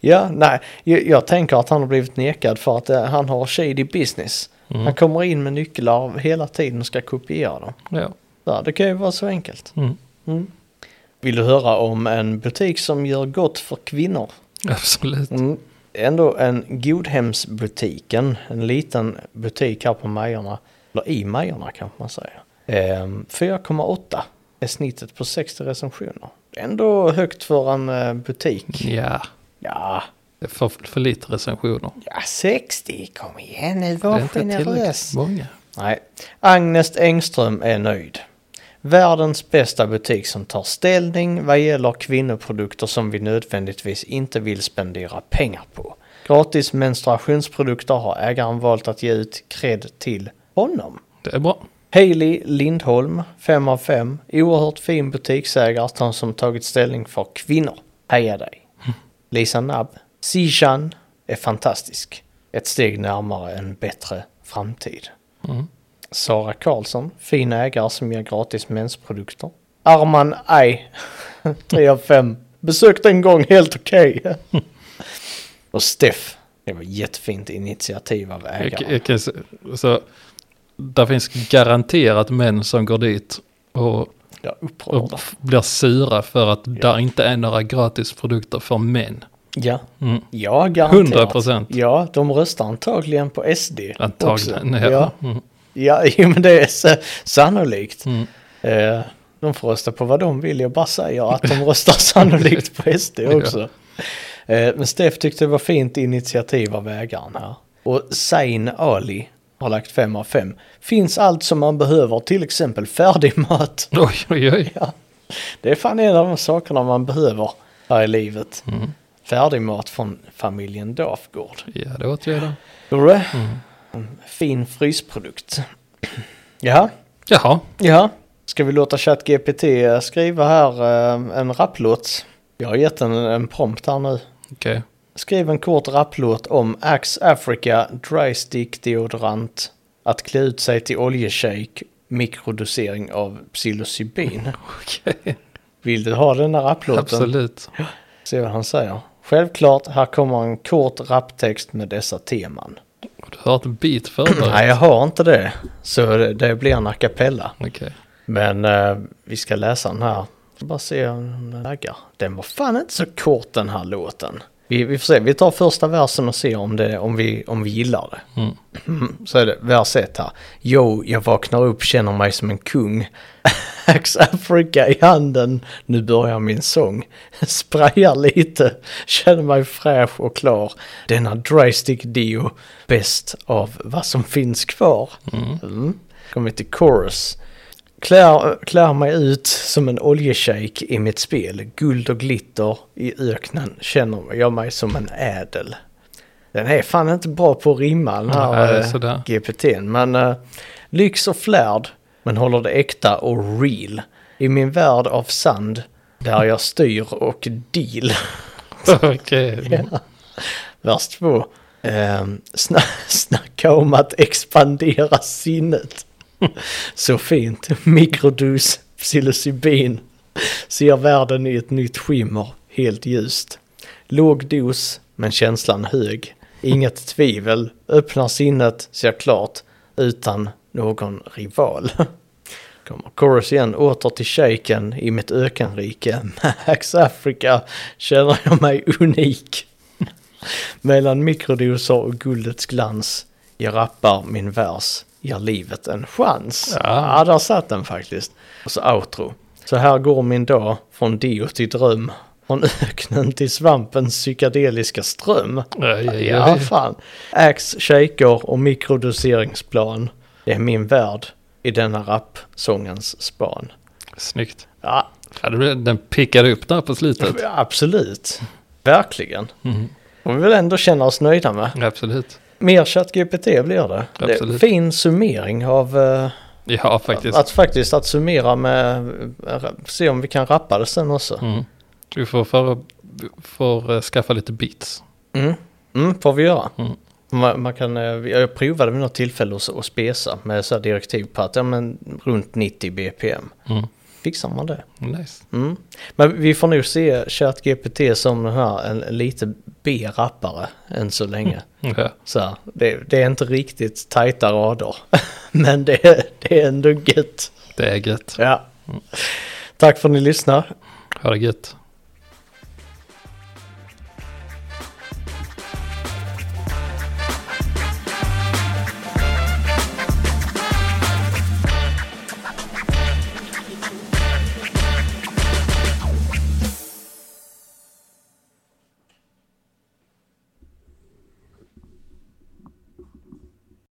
S1: ja, nej, jag, jag tänker att han har blivit nekad för att eh, han har shady business. Han kommer in med nycklar hela tiden och ska kopiera dem.
S2: ja.
S1: Ja, det kan ju vara så enkelt.
S2: Mm.
S1: Vill du höra om en butik som gör gott för kvinnor?
S2: Absolut.
S1: Mm. Ändå en Godhemsbutiken, en liten butik här på Majorna, eller i Majorna kanske man säger. Ehm, 4,8 är snittet på 60 recensioner. Ändå högt för en eh, butik.
S2: Ja.
S1: Ja,
S2: Det är för, för lite recensioner.
S1: ja 60, kom igen nu,
S2: Det
S1: var
S2: är inte tillräckligt
S1: generös.
S2: många.
S1: Nej. Agnes Engström är nöjd. Världens bästa butik som tar ställning vad gäller kvinnoprodukter som vi nödvändigtvis inte vill spendera pengar på. Gratis menstruationsprodukter har ägaren valt att ge ut cred till honom.
S2: Det är bra.
S1: Hailey Lindholm, 5 av 5. Oerhört fin butiksägare som tagit ställning för kvinnor. Heja dig! Lisa Nabb. Sijan är fantastisk. Ett steg närmare en bättre framtid.
S2: Mm.
S1: Sara Karlsson, fin ägare som ger gratis mensprodukter. Arman [LAUGHS] Ay, 3 av 5. Besökt en gång, helt okej. Och Steff, det var ett jättefint initiativ av
S2: Jag,
S1: ägaren.
S2: jag kan, se- så, där finns garanterat män som går dit och,
S1: Jag är upprörd.
S2: och f- blir sura för att där inte är några gratisprodukter för män.
S1: Ja,
S2: Mm.
S1: ja garanterat.
S2: 100 procent.
S1: Ja, de röstar antagligen på SD.
S2: Antagligen.
S1: också.
S2: Ja.
S1: Ja,
S2: Mm.
S1: ja [LAUGHS] jo, men det är så, sannolikt.
S2: Mm.
S1: Eh, de får rösta på vad de vill. Jag bara säger att de röstar [LAUGHS] sannolikt på SD också. Eh, men Steff tyckte det var fint initiativ av ägaren här. Och Zain Ali har lagt 5 av 5. Finns allt som man behöver, till exempel färdig mat. [LAUGHS]
S2: [LAUGHS] Oj, oj, oj. Mm,
S1: Det är fan en av de sakerna man behöver här i livet. färdigmat från familjen Dafgård.
S2: Ja, det åt jag då.
S1: Gjorde du det?
S2: Mm.
S1: Fin frysprodukt. Jaha,
S2: Jaha,
S1: ja. Ska vi låta ChatGPT eh, skriva här eh, en rapplåt? Jag har gett en, en prompt här nu.
S2: okej.
S1: Skriv en kort rapplåt om Axe Africa Dry Stick Deodorant. Att klä ut sig till oljeshake. Mikrodosering av psilocybin.
S2: Okej,
S1: Vill du ha den här rapplåten?
S2: absolut.
S1: Se vad han säger. Självklart, här kommer en kort raptext med dessa teman.
S2: Du har ett beat förberett?
S1: [CLEARS THROAT] Nej, jag har inte det. Så det, det blir en a cappella.
S2: Okej. [LAUGHS]
S1: Men eh, vi ska läsa den här. Ska Bara se om den laggar. Den var fan inte så kort den här låten. Vi, vi får se, vi tar första versen och ser om, det, om, vi, om vi gillar det.
S2: Mm.
S1: Mm, så är det vers ett här. Jo, jag vaknar upp, känner mig som en kung. Axe Africa i handen, nu börjar min sång. Sprayar lite, känner mig fräsch och klar. Denna dry stick dio, bäst av vad som finns kvar.
S2: Mm.
S1: Mm. Kommer till chorus. Klär, klär mig ut som en oljeshejk i mitt spel. Guld och glitter i öknen känner jag mig som en ädel. Den är fan inte bra på att rimma den här
S2: Nej,
S1: eh,
S2: sådär.
S1: GPTn. Men eh, lyx och flärd, men håller det äkta och real. I min värld av sand, där jag styr och deal.
S2: Okej.
S1: Vers två. Ehm, sna [LAUGHS] snacka om att expandera sinnet. [LAUGHS] Så fint. Mikrodos psilocybin. Ser världen i ett nytt skimmer, helt ljust. Låg dos, men känslan hög. Inget tvivel, öppnar sinnet, ser klart, utan någon rival. [LAUGHS] Kommer chorus igen, åter till shaken i mitt ökenrike. [LAUGHS] Max Africa känner jag mig unik. [LAUGHS] Mellan mikrodoser och guldets glans. Jag rappar min vers, ger livet en chans.
S2: Ja.
S1: Ja, där satt den faktiskt. Och så outro. Så här går min dag, från dio till dröm. Från öknen till svampens psykedeliska ström.
S2: Aj, aj,
S1: Ja,
S2: aj.
S1: fan. Axe, shaker och mikrodoseringsplan. Det är min värld i denna rapsångens span.
S2: Snyggt.
S1: Ja,
S2: Ja, det blev- den pickade upp där på slutet.
S1: absolut. Verkligen.
S2: Mm.
S1: Och vi vill ändå känna oss nöjda med.
S2: Absolut.
S1: Mer ChatGPT blir det. det är en
S2: Absolut.
S1: fin summering av... eh,
S2: Ja, faktiskt.
S1: Att faktiskt att summera med... eh, Se om vi kan rappa det sen också.
S2: Mm. Vi får, för, får eh, skaffa lite beats.
S1: Mm, mm får vi göra.
S2: Mm.
S1: Man, man kan, eh, jag provade vid något tillfälle att, att spesa med så här direktiv på att ja, men, runt 90 BPM.
S2: Mm.
S1: Fixar man det?
S2: Nice.
S1: Mm. Men vi får nog se ChatGPT som den här en, en lite B-rappare än så
S2: Mm.
S1: länge.
S2: Ja.
S1: Så här, det, det är inte riktigt tajta rader, [LAUGHS] men det, är- det är ändå gött.
S2: Det är gött.
S1: Ja. Tack för att ni lyssnar.
S2: Ha det gött.